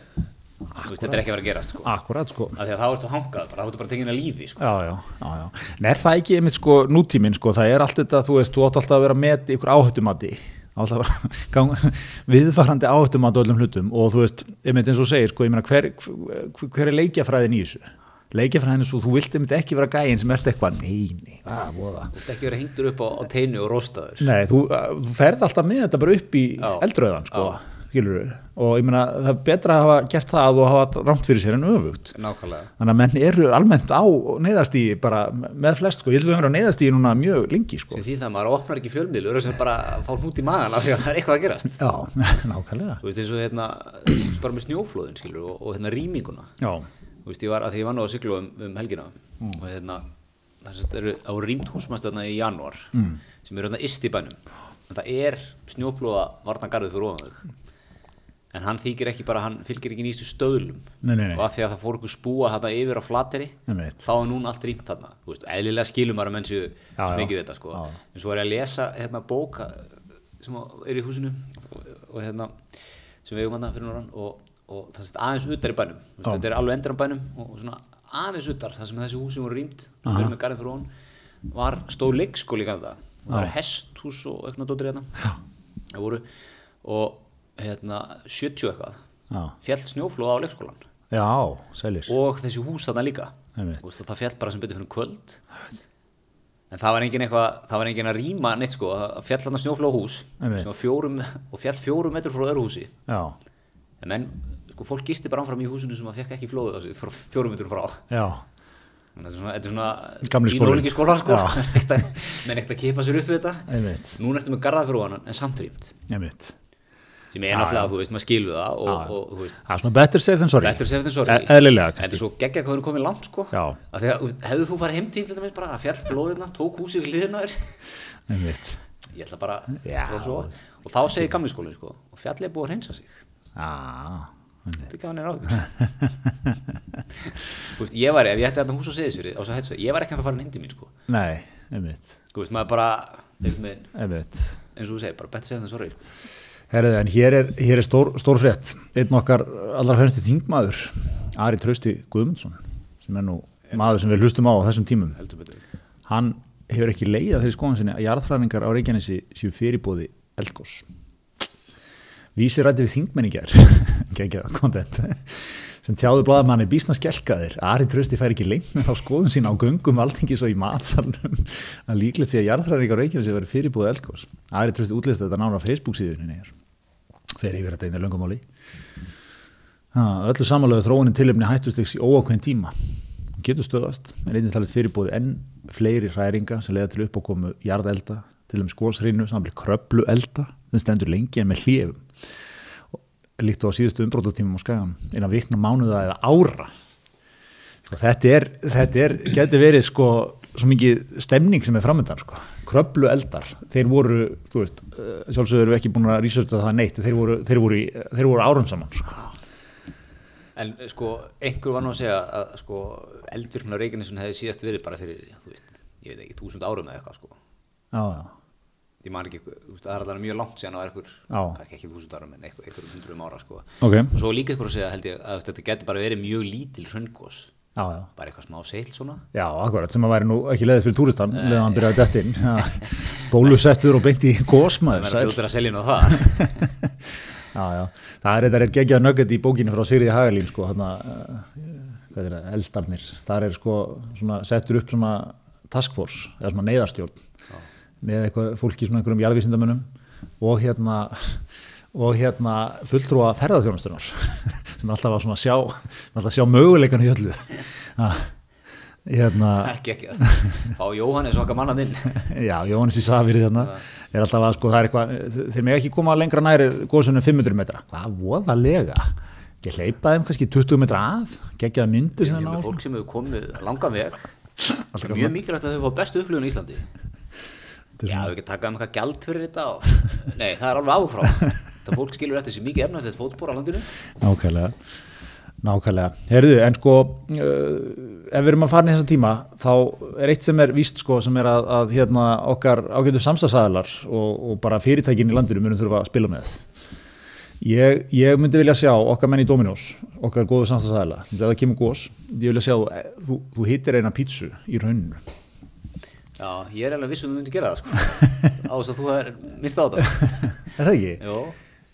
S2: þú veist, Þetta er ekki að vera að gerast, sko
S1: akkurat sko
S2: Af því að þá ertu hangað, bara, þá ertu bara tekinn að lífi, sko
S1: Já, já, já, já. En er það ekki einmitt sko nútíminn sko, það er allt þetta, þú veist, þú átt alltaf að vera með ykkur áhættumati, alltaf að vera gang, viðfarandi áhættumati á öllum hlutum og þú veist, einmitt eins og þú segir sko, ég meina, hver, hver, hver er leikjafræðin í þessu? Leikjafræðin er svo, þú vilt einmitt ekki vera gæinn sem ert eitthvað, nei, nei, að, voða.
S2: Þú vilt ekki vera hengdur upp á, á teinu og róstaður
S1: Nei, þú, ah, þú ferð alltaf með þetta bara upp í
S2: Já.
S1: eldröðan sko, skilur við, og ég meina, það er betra að hafa gert það og hafa rámt fyrir sér en öfugt.
S2: Nákvæmlega.
S1: þannig að menn eru almennt á neyðastíi bara með flest sko, ég held að við höfum verið á neyðastíi núna mjög lengi sko.
S2: Sem því það að maður opnar ekki fjölmiðlur sem bara að fá hnút í magan af því að það er eitthvað að gerast.
S1: Já, nákvæmlega.
S2: Þú veist eins og hérna, þú veist bara með snjóflóðin skilur og, og hérna rýminguna.
S1: Já,
S2: Þú veist ég var, að því ég var nú að sigla um, um helgina
S1: Mm.
S2: og hérna, það sem eru á rýmt húsmæstöðna í janúar
S1: Mm.
S2: sem eru hérna yst í bænum. En það er snjóflóða varna garðið fyrir ofan þau. en hann þykir ekki bara, hann fylgir ekki nýstu stöðlum
S1: Nei, nei, nei.
S2: og af því að það fór ykkur spúa þarna yfir á flateri
S1: Einmitt.
S2: þá er núna allt rýmt þarna þú veist, eðlilega skilum maður að menn séu
S1: Já, já.
S2: mikið þetta sko,
S1: Já.
S2: en svo er ég að lesa hérna bóka sem er í húsinu og, og hérna sem við eigum hann fyrir norðan og, og það er aðeins utar í bænum, Þú veist,
S1: Já.
S2: þetta er alveg endur á bænum og, og svona aðeins utar, þar sem þessi húsi voru rýmt við erum með garðin fyrir hon var stóð leikskóli í Kanada og það er hesthús og eitthvað dóttir hérna það voru og hérna 70 eitthvað
S1: Já.
S2: fjall snjóflóð á leikskólan
S1: já, sælir
S2: og þessi hús þarna líka
S1: Einmitt.
S2: og það fjall bara sem betur fyrir kvöld en það var engin eitthvað það var engin að rýma neitt sko það fjall þarna snjóflóð á hús
S1: Einmitt.
S2: sem var fjórum, og fjall fjórum metru frá öðru húsi
S1: já,
S2: en menn, sko fólk gisti bara áfram í húsinu sem að fekk ekki flóðið á sig frá fjórum metru frá
S1: já,
S2: Þannig að þetta er svona, þetta er svona
S1: Gamli skólinn.
S2: pínulíki skólar sko
S1: Já.
S2: Ekkert að- menn ekkert að kipa sér upp við þetta
S1: einmitt,
S2: núna ertu með garða fyrir hann en samt rýmt
S1: einmitt
S2: sem er náttúrulega, þú veist, maður skilur það og,
S1: já.
S2: og, þú veist,
S1: það er svona better safe than sorry
S2: betur sér þetta
S1: E-
S2: sorgi
S1: eðlilega
S2: þetta
S1: kannski
S2: er svo geggja hvað við erum komin langt sko
S1: Já.
S2: að þegar, hefðu þú farið heim til þetta minnst bara það fjall flóðina, tók húsið við hliðina á þér
S1: einmitt,
S2: ég ætla bara
S1: Já.
S2: að svo og þá segir gamli skólinn sko og fjallið er búið að reynsa sig
S1: já, einmitt
S2: þetta er gaman er áhugur þú veist, ég var ef ég ætti þetta hús og segið sér á svo hættu ég var ekki að fara heim til mín sko
S1: nei, einmitt,
S2: þú veist, maður bara einhvern veginn,
S1: einmitt
S2: eins og þú segir, bara betur segja þetta sorgi sko.
S1: Herðu, en hér er, hér er stór, stór frétt einn okkar allra fremsti þingmaður Ari Trausti Guðmundsson sem er nú maður sem við hlustum á á þessum tímum
S2: heldur betur
S1: hann hefur ekki leiða þeirri skoðan sinni að jarðfræðingar á Reykjanesi séu fyrirbóði eldgós Vísir rætti við þingmenningar geggjað kontent sem tjáðu blaðamanni býsna skelkaðir Ari Trösti fær ekki lengt með þá skoðun sín á göngum alþingis og í matsalnum að líklegt sé að jarðræðingar á Reykjanesi verið fyrirbúið eldgós Ari Trösti útlist þetta nána á Facebook síðuninni er fer yfir þetta einu löngumáli Ha, öllu samanlega þróunin tilöfni hættustegs í óákveðin tíma Hún getur stöðast, en einnig talið fyrirbúið enn fleiri hræringa sem leiða til uppákomu jarðelda, til þeim skósrinu samlega kröplu elda, sem stendur lengi en með hljöfum líkt og á síðustu umbrotatímum á skagan innan vikna mánuða eða ára og þetta er, þetta er getur verið sko svo mikið stemning sem er framöndan sko kröplu eldar, þeir voru þú veist, eh, sjálfsögðu eru ekki búin að researcha það neitt, þeir voru, þeir voru, í- þeir voru árum saman sko.
S2: En sko, einhver var nú að segja að sko, eldvirkna Reykjanesun hefði síðast verið bara fyrir, þú veist, ég veit ekki, túsund árum eða eitthvað, sko.
S1: já, já,
S2: Ég man ekki, þú veist, það er alveg mjög langt síðan á einhver,
S1: Já.
S2: kannski ekki túsund árum, en einhver, einhver hundruðum ára, sko.
S1: ok,
S2: Og svo var líka einhver að segja, held ég, að þú veist, þetta getur bara verið mjög lítil hröngos,
S1: já, já
S2: bara eitthvað smá seilt svona.
S1: Já, akkurat, sem að væri nú ekki leiðið fyrir túristan leðan hann byrjaði dætt inn Já. bólusettur og beint í
S2: Það
S1: kosmaður
S2: er að fljótur að selja nú það.
S1: já, já. það er þetta er geggjað nugget í bókinu frá Sigriði Hagalín sko, hana, hvað er það, eldarnir þar er sko, svona, settur upp svona task force, eða svona neyðarstjórn með eitthvað, fólki svona einhverjum jarðvísindamönnum og hérna og hérna fulltrúa ferðarþjónastunar sem er alltaf að svona sjá alltaf að sjá möguleikan í öllu Ha, hérna
S2: ekki, ekki. Fá Jóhannes okkar mannan inn.
S1: Já, Jóhannes í Safiri þarna er alltaf að sko, það er eitthvað, þeir með ekki koma lengra næri góðsunum 500 metra. Hvað, voðalega? Ekki hleypa þeim kannski 20 metra að, geggjaða myndir sem þeir
S2: Ég er með
S1: ná.
S2: fólk sem hefur komið langan veg. Það er mjög mikilvægt að þau fá bestu upplifun í Íslandi.
S1: Þetta er
S2: Já, við ekki taka um eitthvað gjald fyrir þetta og... Nei, það er alveg áfrá. Það fólk skilur eftir sér mikið efnastætt fótspor á landinu.
S1: Nákvæmlega, nákvæmlega. Herðu, en sko, uh, ef við erum að fara í þessa tíma, þá er eitt sem er víst sko, sem er að, að hérna, okkar ágætu samstagsæðalar og, og bara fyrirtækin í landinu munum þurfa að spila með. Ég, ég myndi vilja sjá okkar menn í Dominos, okkar góðu samstagsæðala, ef það kemur gós, ég vilja sjá, eh, þú, þú hittir eina pítsu í rauninu.
S2: Já, ég er alveg viss um að þú myndir gera það, sko. Á þess að þú er minnst á þetta.
S1: Er það ekki?
S2: Jó,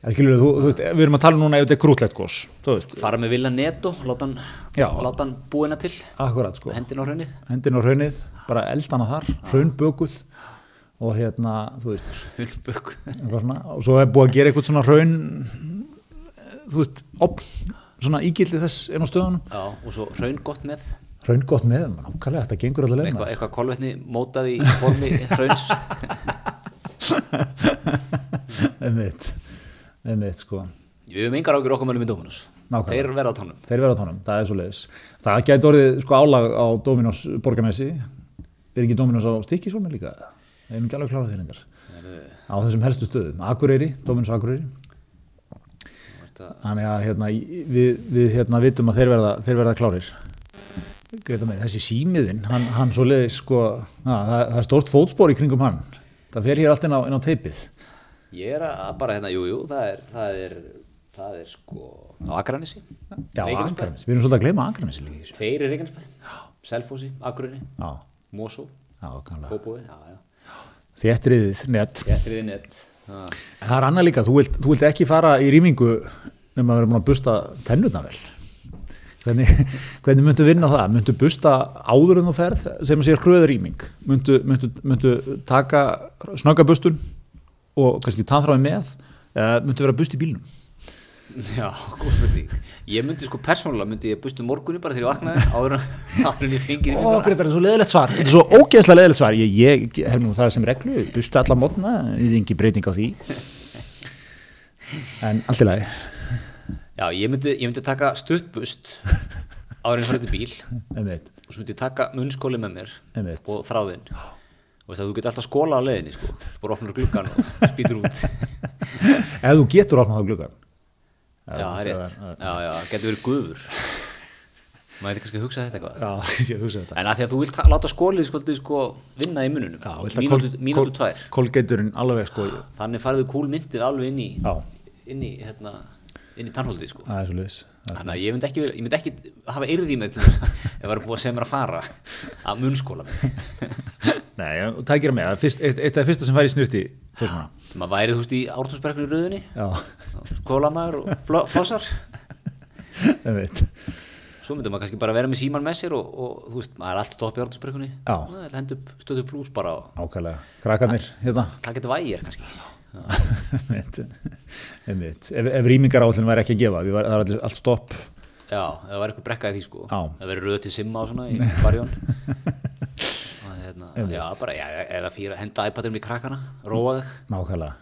S1: Það skilur þú, þú veist, við erum að tala núna ef þetta er krútlegt gós, þú veist,
S2: fara með vilja netto, láta hann,
S1: Já.
S2: láta hann búina til,
S1: akkurat sko.
S2: hendin á hraunni.
S1: hendin á hraunið, bara eldana þar, hraunbökuð og hérna, þú veist,
S2: Hulbökk.
S1: eitthvað svona, og svo er búið að gera eitthvað svona hraun, þú veist, opn, svona ígildi þess einu stöðunum.
S2: Já, og svo hraun gott með.
S1: Hraun gott með, mann, ákvæmlega, þetta gengur alltaf leið
S2: Eitthvað,
S1: með.
S2: eitthvað kolvetni mótað í formi hrauns.
S1: Einmitt, einmitt, sko.
S2: Við höfum engar ágjur okkar mönnum í Dominus.
S1: Nákvæmlega.
S2: Þeir verða á tónum.
S1: Þeir verða á tónum, það er svo leiðis. Það gæti orðið, sko, álag á Dominos borgarnæsi. Er ekki Dominos á Stikkisólmi líka? Það er ekki alveg
S2: eh,
S1: klárað þeir endar. Á þessum helstu stöðum, Akureyri, Dominos Akureyri.
S2: Þetta-
S1: þannig að hérna, í- við, við hérna, vitum að þeir verða, þeir verða klárir Greta mér, þessi símiðin hann, hann svo sko að, það, það er stórt fótspor í kringum hann það fer hér allt inn á, inn á teipið
S2: Ég er að bara hérna, jú, jú, það er, það er, það er sko á Akranesi.
S1: Já,
S2: Reykjanesbæ.
S1: Akranes, við erum svolítið að gleyma Akranes líka í þessu.
S2: Tveir í Reykjanesbæ, Selfossi, Akureyri,
S1: Já,
S2: Mosó,
S1: já, kannlega
S2: Kópói, já, já.
S1: Þéttriðið, nett
S2: Gettir þið nett. Já.
S1: Það er annað líka, þú vilt, þú vilt ekki fara í rýmingu nema að vera búin að busta tennurna vel Hvernig, hvernig myndu vinna það? Myndu busta áður en þú ferð sem að sé hröður rýming? Myndu, myndu, myndu taka snögga bustun og kannski tannþráði með? Eða myndu vera bust í bílnum?
S2: Já, góð spurning. Ég myndi sko persónulega, myndi ég bustu morgunni bara þegar ég vaknaði áður en- áður en ég fengir
S1: Ó, Gretar, þetta er svo leðilegt svar Þetta er svo ógeðslega leðilegt svar Ég, ég hef nú það sem reglu, busta alla mótna Það er engin breyting á því En allt í lagi
S2: Já, ég myndi, ég myndi taka stuttbust áður en ég farið til bíl
S1: Einmitt,
S2: og svo myndi ég taka munnskóli með mér
S1: Einmitt.
S2: og þráðinn. Og veist að þú getur alltaf skóla á leiðinni, sko. Svo Bara opnar gluggan og spýtur út.
S1: Ef þú getur opnað þá gluggan
S2: Já, það er rétt. Já, já, það getur verið guður. Maður eitthvað kannski að hugsa þetta eitthvað.
S1: Já, ég hugsa þetta
S2: En að því að þú vilt ta- láta skólið skoltið sko vinna í mununum.
S1: Já, vilt að
S2: mínútu,
S1: kol-
S2: mínútu
S1: kol-
S2: tvær.
S1: Kolgeiturinn alveg sko
S2: Þannig færðu kúl myndið alveg inn í,
S1: Já.
S2: inn í, hérna, inn í tannhóldið sko.
S1: Það er svo leiðis
S2: Þannig að ég myndi ekki, vilja- ég myndi ekki hafa eyrði með til þess ef það er búið að segja mér að fara að munnskóla mig.
S1: Nei, já, og tækir með, það er fyrst- eitt eitt af það fyrsta sem fær í snurti Tórsmana
S2: Maður værið, þú veist, í ártúnsbergnu rauðinni,
S1: Já,
S2: skóla maður og flo- flossar.
S1: það veit
S2: Svo myndi maður kannski bara vera með síman með sér og, og þú veist, maður er allt stopp í ártúnsbergunni.
S1: Já.
S2: Það er hendur stöðu plús bara og
S1: Ákvæðlega, krakkarnir hérna
S2: það getur vægir kannski.
S1: Einmitt. Einmitt. Ef, ef rýmingar áhullin væri ekki að gefa við var, það er allir, allt stopp
S2: Já, ef það var eitthvað brekka í því sko.
S1: Já.
S2: Það verður rauð til simma og svona í barjón. Og hérna, já, bara, já, eða fyrir að henda iPadum í krakkana, róa þig.
S1: nákvæmlega,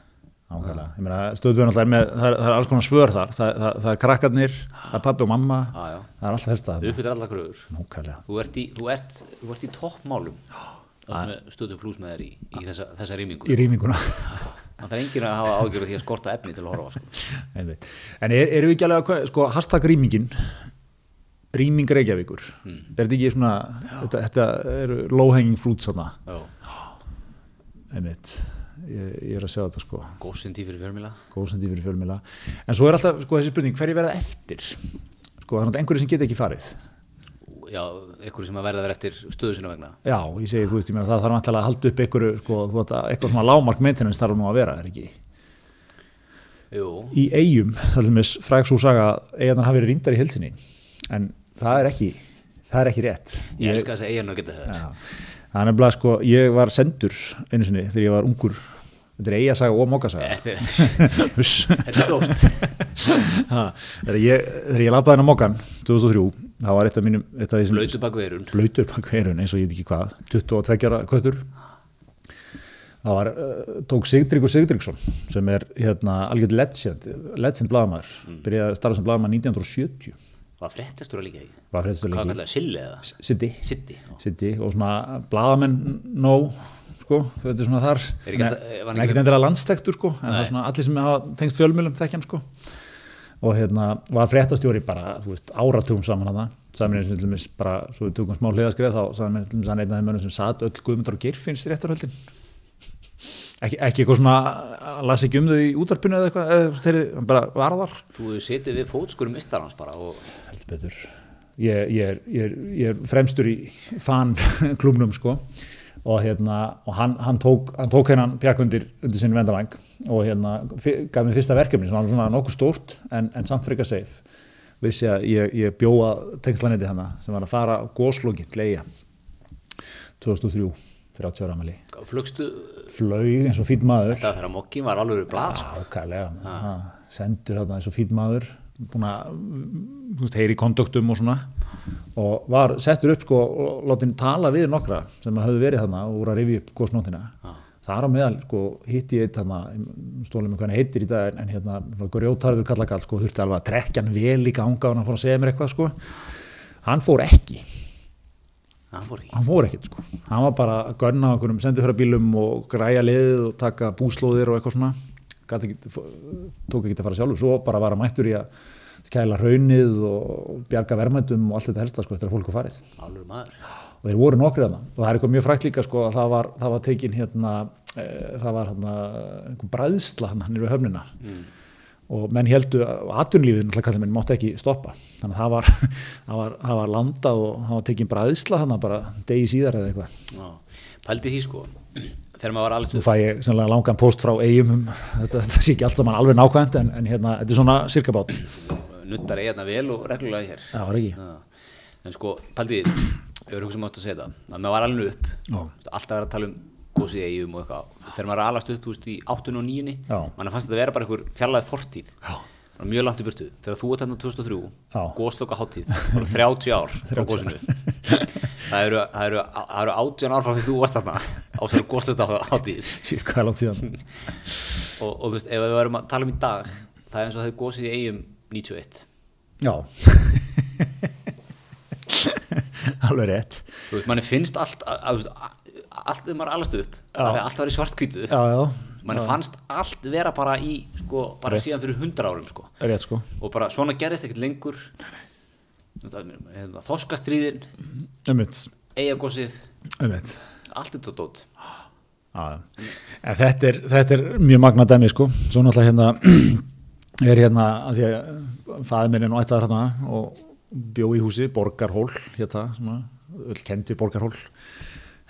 S1: nákvæmlega. Ég meina, stöðvun alltaf er með, það er, það er alls konar svör þar það, það, það er krakkarnir, það er pappi og mamma
S2: Já, já.
S1: það er alltaf helst að
S2: Uppbyttir allar gröður.
S1: nákvæmlega
S2: Þú ert í, þú ert, þú ert í toppmálum stöðu pluss með þér í, í þessa, þessa rýmingu
S1: í rýminguna
S2: Það þarf enginn að hafa ágjörð því að skorta efni til að horfa sko.
S1: Einmitt. en er, erum við ekki alveg að sko, hashtag rýmingin rýming Reykjavíkur
S2: Hmm.
S1: er þetta ekki svona þetta, þetta eru low hanging fruit svona
S2: Já,
S1: einmitt ég, ég er að segja þetta sko
S2: góðsinn tíð fyrir fjörmila
S1: góðsendi fyrir fjölmjöla en svo er alltaf sko þessi spurning hverju verða eftir sko það er einhverju sem geta ekki farið
S2: Já, einhverju sem að verða þær eftir stöðu sinna vegna
S1: já ég segi þú veist ég meina það þarf alltaf að halda upp einhverju sko þú veist að eitthvað svona lágmark maintenance þarf nú að vera er ekki
S2: Jú,
S1: í eigum þaljumis fræg svo saga að eigarnar hafi verið rýndar í helsinni en það er ekki það er ekki rétt
S2: ég elska þess að eiginu að geta þeir
S1: Já. það er nefnilega sko ég var sendur einu sinni þegar ég var ungur þetta er eigasaga og mókasaga
S2: Þetta er,
S1: Huss.
S2: þetta er stórt
S1: Ha, þegar ég, þegar ég lappaði hennar mókan 2003, það var eitt af mínum eitt af því sem
S2: Blöytu bak við erun
S1: blöytur bak eirun eins og ég veit ekki hvað 22 ára köttur það var, uh, tók Sigdryggur Sigdryggsson sem er hérna algjörð legend, legend blagamæður
S2: Mm.
S1: byrjaði að starfa sem blagamæður 1970
S2: Var fréttastur að líka því
S1: var fredstu
S2: Hvað
S1: lengi,
S2: kallar það, Silli eða?
S1: Siddi
S2: Siddi já.
S1: Siddi og svona blagamæn nóg sko, þetta er svona þar
S2: Er ekki
S1: Nei,
S2: alltaf- var hann
S1: hann
S2: ekki-
S1: er ekkert endilega landstektur sko, en það er svona allir sem hafa tengst fjölmjölum þekkjan sko og hérna var fréttastjóri bara, þú veist, áratugum saman hana saman eins og til dæmis bara, svo við tökum smá hliðaskrið þá saman eins og hann er einn af þeim mönnum sem satt öll Guðmundar og Geirfinns í réttarhöldin ekki, ekki eitthvað svona hann las ekki um þau í útarpinu eða eitthvað eða, þeir, hann bara varðar
S2: Þú hefur setið við fótskurum mistarans bara og
S1: heldur betur ég, ég, er, ég, er, ég er fremstur í fan klubnum sko og, hérna, og hann, hann tók hann tók hennan pjakkundir undir sinni vendavæng og hérna fyr, gaf mér fyrsta verkefni sem var svona nokkuð stórt en, en samt frekar safe vissi að ég, ég bjóa tengslanetti hana sem var að fara góslókin til eiga 2003 30 ára amali
S2: flugstu
S1: flög eins og fýtt maður
S2: Þetta þegar mokkin var alveg blað sko.
S1: Ákæðlega, ha. sendur þarna eins og fýtt maður, búin að mm, þú veist, heyri í konduktum og svona og var settur upp sko og látin tala við nokkra sem að höfðu verið þarna og voru að rifja upp góðsnóttina.
S2: Já.
S1: Þar á meðal sko hitti ég eitt þarna, stólum með hvernig heitir í dag en hérna svona grjótarður kallakall sko þurfti alveg að trekkja hann vel í ganga og hann fór að segja mér eitthvað sko. Hann fór ekki
S2: Það fór ekki
S1: hann fór ekkert sko hann var bara að görna á einhverjum sendifæra bílum og græja liðið og taka búslóðir og eitthvað svona gat ekki, fó- tók ekki að fara sjálfur svo bara var að mættur í að kæla raunnið og bjarga vermættum og allt þetta helsta sko eftir að fólk var farið
S2: alveg maður
S1: og þeir voru nokkri þarna og það er eitthvað mjög frækt líka sko að það var, það var tekin hérna e, það var hérna einhver bræðsla hann hann er við höfnina og menn heldu að atvinnulífið náttúrulega kallar menn mátti ekki stoppa þannig að það var, það var, það var landað og það var tekin bræðsla þannig bara degi síðar eða eitthvað
S2: Já. pældi því sko þegar maður var alveg
S1: Nú fæ ég sannlega langan post frá eigum um, þetta, þetta sé ekki allt saman alveg nákvæmt en, en hérna, þetta er svona sirkabát
S2: nuttar eigarna vel og reglulega hér
S1: Það var ekki.
S2: Já. en sko, paldi því ég verður sem átt að segja það, að maður var alveg upp
S1: Já.
S2: alltaf verið að tala um gósið eigum og eitthvað þegar maður er alast upp, þú veist, í 8 og 9
S1: Já.
S2: mann fannst þetta vera bara einhver fjarlæði fortíð Já. mjög langt í burtu, þegar þú var þarna 2003
S1: Já.
S2: gósloka hátíð, það voru 30 ár frá gósinu það eru, það eru, það eru 18 ár frá því þú varst þarna á þessari gósloka hátíð
S1: síðan hvað er langt síðan
S2: og, og þú veist, ef við varum að tala um í dag það er eins og það er gósið í eigum 91
S1: já alveg rétt
S2: þú veist, manni finnst allt að, að, þú veist, að, allt þegar maður allast upp það er allt að vera í svartkvítu
S1: já, já,
S2: manni fannst allt vera bara í sko, bara
S1: Rétt.
S2: síðan fyrir hundra árum sko.
S1: rétt sko
S2: og bara svona gerist ekkert lengur hérna, þoskastríðin
S1: umvitt,
S2: eigagósið,
S1: umvitt
S2: allt þetta dót
S1: en þetta er, þetta er mjög magna dæmi sko, svo náttúrulega hérna er hérna að því að fæði minn er nú ættaður hérna og bjó í húsi, Borgarhól hérna, svona, öll kendi Borgarhól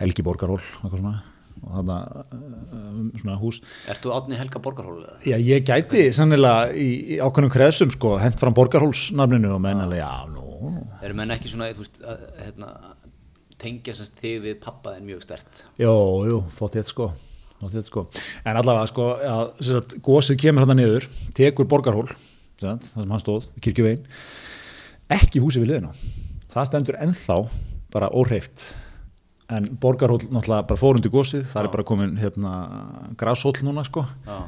S1: Helgi Borgarhól, eitthvað svona og þarna um, svona hús
S2: ertu átni Helga Borgarhólu eða?
S1: Já, ég gæti sannilega í, í ákveðnum kreðsum sko, hent fram borgarhólsnafninu og menn alveg, já, nú,
S2: eru menn ekki svona þú veist, að, hérna, tengja sem þig við pappa þinn mjög stert
S1: jú, jú, fótt ég sko, fótt ég sko. En allavega sko, að, sem sagt, gósið kemur hann niður, tekur borgarhól, sem sagt, það sem hann stóð, við kirkjuvegin, ekki húsi við liðina. Það stendur ennþá bara óhreift, en borgarhól náttúrulega bara fór undir gósið, það er bara komin hérna grashól núna sko.
S2: já,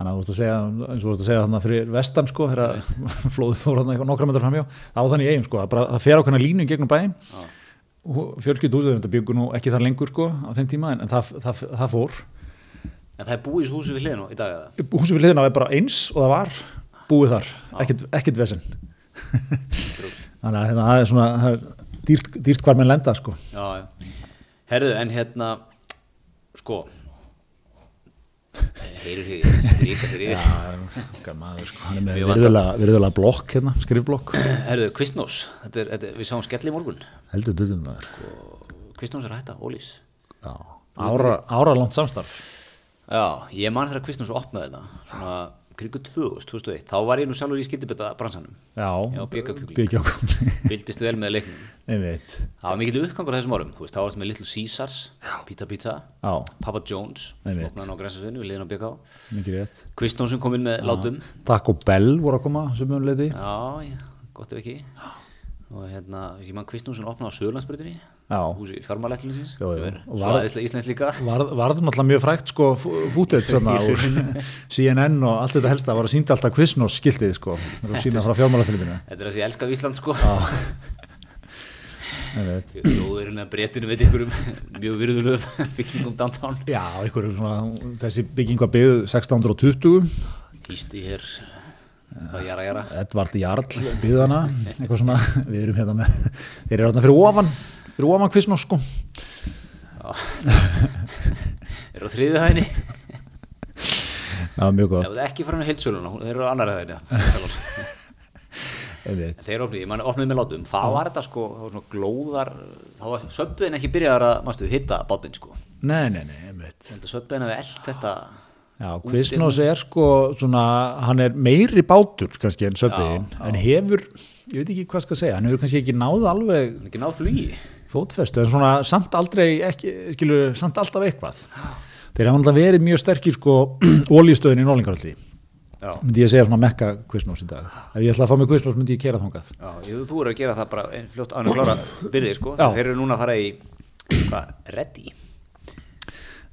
S1: Þannig að þú vorst að segja, eins og þú vorst að segja þannig fyrir vestan sko, þegar flóðið fór þannig nokkra metrar framjá, það á þannig í eigum sko, það, bara, það fer ákveðna línu í gegnum bæinn, fjölskyldu húsið, þetta byggur nú ekki þar lengur sko á þeim tíma, en, en það, það, það fór.
S2: en það er búið í þessu húsi við hliðin á í dag eða?
S1: Húsið við hliðina er bara eins og það var búið þar, ekkert, ekkert vesen. þannig að hérna, það er svona, það er dýrt, dýrt hvar menn lenda sko.
S2: Já, já. Herðu, en hérna, sko, heyrur hér, stríka fyrir yfir.
S1: Maður, sko, hann er með
S2: Mjög
S1: virðulega, virðulega blokk hérna, skrifblokk,
S2: Herðu, Kvistnós, þetta er, þetta er, við sáum skelli í morgun.
S1: heldur duðum maður. sko.
S2: Kvistnós er að hætta, Ólís.
S1: Já, ára, ára samstarf.
S2: Já, ég man þegar Kvistnós opnaði þetta, svona krigu 2000, 2001. Þá var ég nú sjálfur í skyndibetta bransanum.
S1: Já,
S2: Já, bjöggakjúkling.
S1: bjöggakjúkling.
S2: Vildist vel með leiknum.
S1: Einmitt,
S2: Það var mikill uppgangur á þessum árum, þú veist, þá varst með Little Caesars, Pizza Pizza,
S1: já,
S2: Papa Jones,
S1: Einmitt.
S2: opnaði hann á græsasveinu, við liðin á BK.
S1: mikið rétt.
S2: Kvistnósum kom inn með látum.
S1: Taco Bell voru að koma sem um leiti.
S2: Já, já, gott ef ekki og hérna, ég mann Kvistnússon opnaði á Söðurlandsbrytunni
S1: Já.
S2: húsi fjármálætlinsins
S1: Jú, jú. Og
S2: svo
S1: var-
S2: aðeinslega Íslands líka
S1: Varð varð náttúrulega mjög frægt sko fútið svona úr CNN og allt þetta helsta var að sýnda alltaf Quiznos skiltið sko, það var sína frá fjármálafilminu.
S2: þetta er það sem ég elska við Ísland sko þjóðurinn að breytinu veit ykkur um mjög virðulegum byggingum downtown
S1: Já, einhverjum svona, þessi bygging var byggð 1620,
S2: Ísti hér það jara jara
S1: Edvard Jarl byggðana, eitthvað svona, við erum hérna með, þeir eru hérna fyrir ofan, fyrir ofan Quiznos sko.
S2: er á þriðið hæðinni ef
S1: Það var mjög gott,
S2: það er ekki farin að heilsöluna þeir eru á annari hæðinni
S1: einmitt.
S2: En Þeir opnið, ég mann opnið með látum, þá var þetta sko, þá var svona glóðar, þá var söpbuðin ekki byrjaðar að, mástu, hitta bátinn sko. Ég
S1: Nei, nei, nei, einmitt.
S2: held að söpbuðin hafi eld þetta,
S1: Já, Kvistnós er sko svona, hann er meiri bátur kannski en söpvegin, en hefur ég veit ekki hvað skal segja, hann hefur kannski ekki náð alveg
S2: hann er ekki náð flugi.
S1: fótfestu, en svona samt aldrei ekki, skilur, samt alltaf eitthvað þeir hafa alltaf verið mjög sterkir sko ólíustöðin í Nólingaröldi
S2: Já.
S1: myndi ég segja svona mekka Kvistnós í dag ef ég ætla að fá mig Kvistnós myndi ég kera þangað
S2: Já, ég, þú eru að gera það bara eh, fljótt án að klára byrðið sko.
S1: Já.
S2: Þeir eru núna að fara í, hvað, Reddy,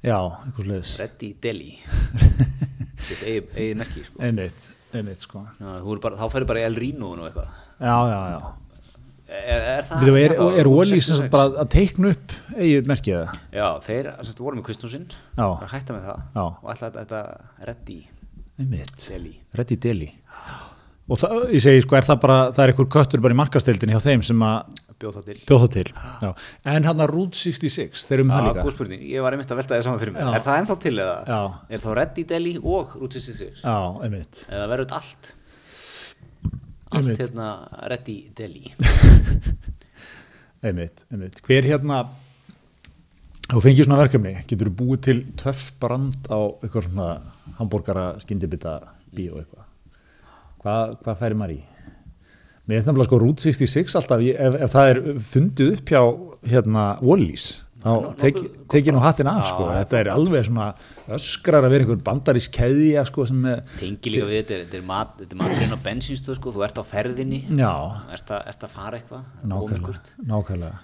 S1: Já, eitthvað sliðis
S2: Reddy Deli, sitt eigið eigi merki sko.
S1: Einmitt, einmitt sko
S2: Já, þú eru bara, þá ferðu bara í El Rino og eitthvað.
S1: Já, já, já
S2: Er, er það?
S1: Við er,
S2: það-
S1: er ólís sem
S2: 66?
S1: sagt bara að teikna upp eigið merkið það
S2: Já, þeir, sem sagt, voru með Kristúsinn,
S1: Já.
S2: bara hætta með það
S1: Já.
S2: og alltaf þetta Reddy.
S1: einmitt,
S2: Delhi.
S1: Reddy Deli og það, ég segi sko, er það bara það er einhver köttur bara í markasteildinni hjá þeim sem að
S2: bjóð það til
S1: bjóða til já. en hann að Route 66, þeir eru um það
S2: Já,
S1: líka
S2: góð spurning, ég var einmitt að velta þér saman fyrir mig Er það ennþá til eða?
S1: Já.
S2: Er þá Reddy Deli og Route 66?
S1: já, einmitt
S2: Eða verður þetta allt? Allt
S1: Einmitt.
S2: hérna Reddy Deli
S1: Einmitt, einmitt. Hver hérna þú fengið svona verkefni, getur þú búið til töff brand á eitthvað svona hambúrgara skyndibita bíó eitthvað hvað, hvað færi maður í? Mér finnst nefnilega sko Route 66 alltaf, ég, ef, ef það er fundið upp hjá hérna Wallys þá tek, tek ég nú hattinn af sko þetta er alveg svona öskrar að vera einhver bandarísk keðja sko sem er,
S2: Tengi líka við þetta, er- þetta er mat- þetta er maturinn á bensinstöð sko, þú ert á ferðinni
S1: já,
S2: Ert að, ert að fara eitthvað
S1: nákvæmlega
S2: Ómyrkurt.
S1: nákvæmlega,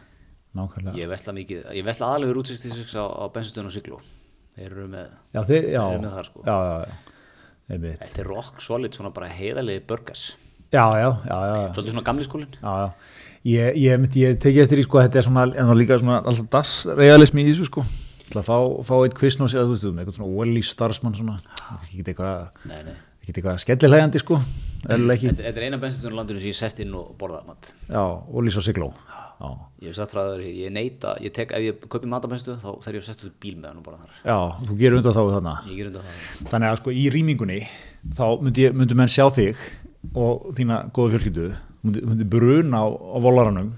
S1: nákvæmlega.
S2: Ég vesla mikið, ég vesla aðlega Route 66 á, á bensinstöðun og siglu Þeir eru með,
S1: Já, þið, já,
S2: Þeir eru með það, sko.
S1: já, já, já, einmitt
S2: þetta er rock solid svona bara heiðarlegi burgers
S1: Já, já, já, já,
S2: Svolítið svona gamli skólinn
S1: já, já. Ég, ég, ég, ég teki eftir í sko að þetta er svona, en það er líka svona alltaf dagsrealismi í þessu sko til að fá, fá eitt kvistn og segja, þú veist, um, eitthvað svona óli starfsmann svona, kannski ekki eitthvað
S2: Nei, nei
S1: ekki eitthvað skellilegandi sko eða ekki,
S2: Þetta þetta er eina bensinstöðun á landinu sem ég sest inn og borðaði mat
S1: já, óli svo sigló já,
S2: Ég hef sagt frá það, ég neita, ég tek, ef ég kaupi matabænstu þá fer ég að sesta út bíl með hann og bara þar.
S1: já, þú gerur undan þá við þarna
S2: Ég ger undan það.
S1: þannig að sko í rýmingunni þá myndi, ég- myndu menn sjá þig og þína góða fjölskyldu myndi, myndi bruna á, á volaranum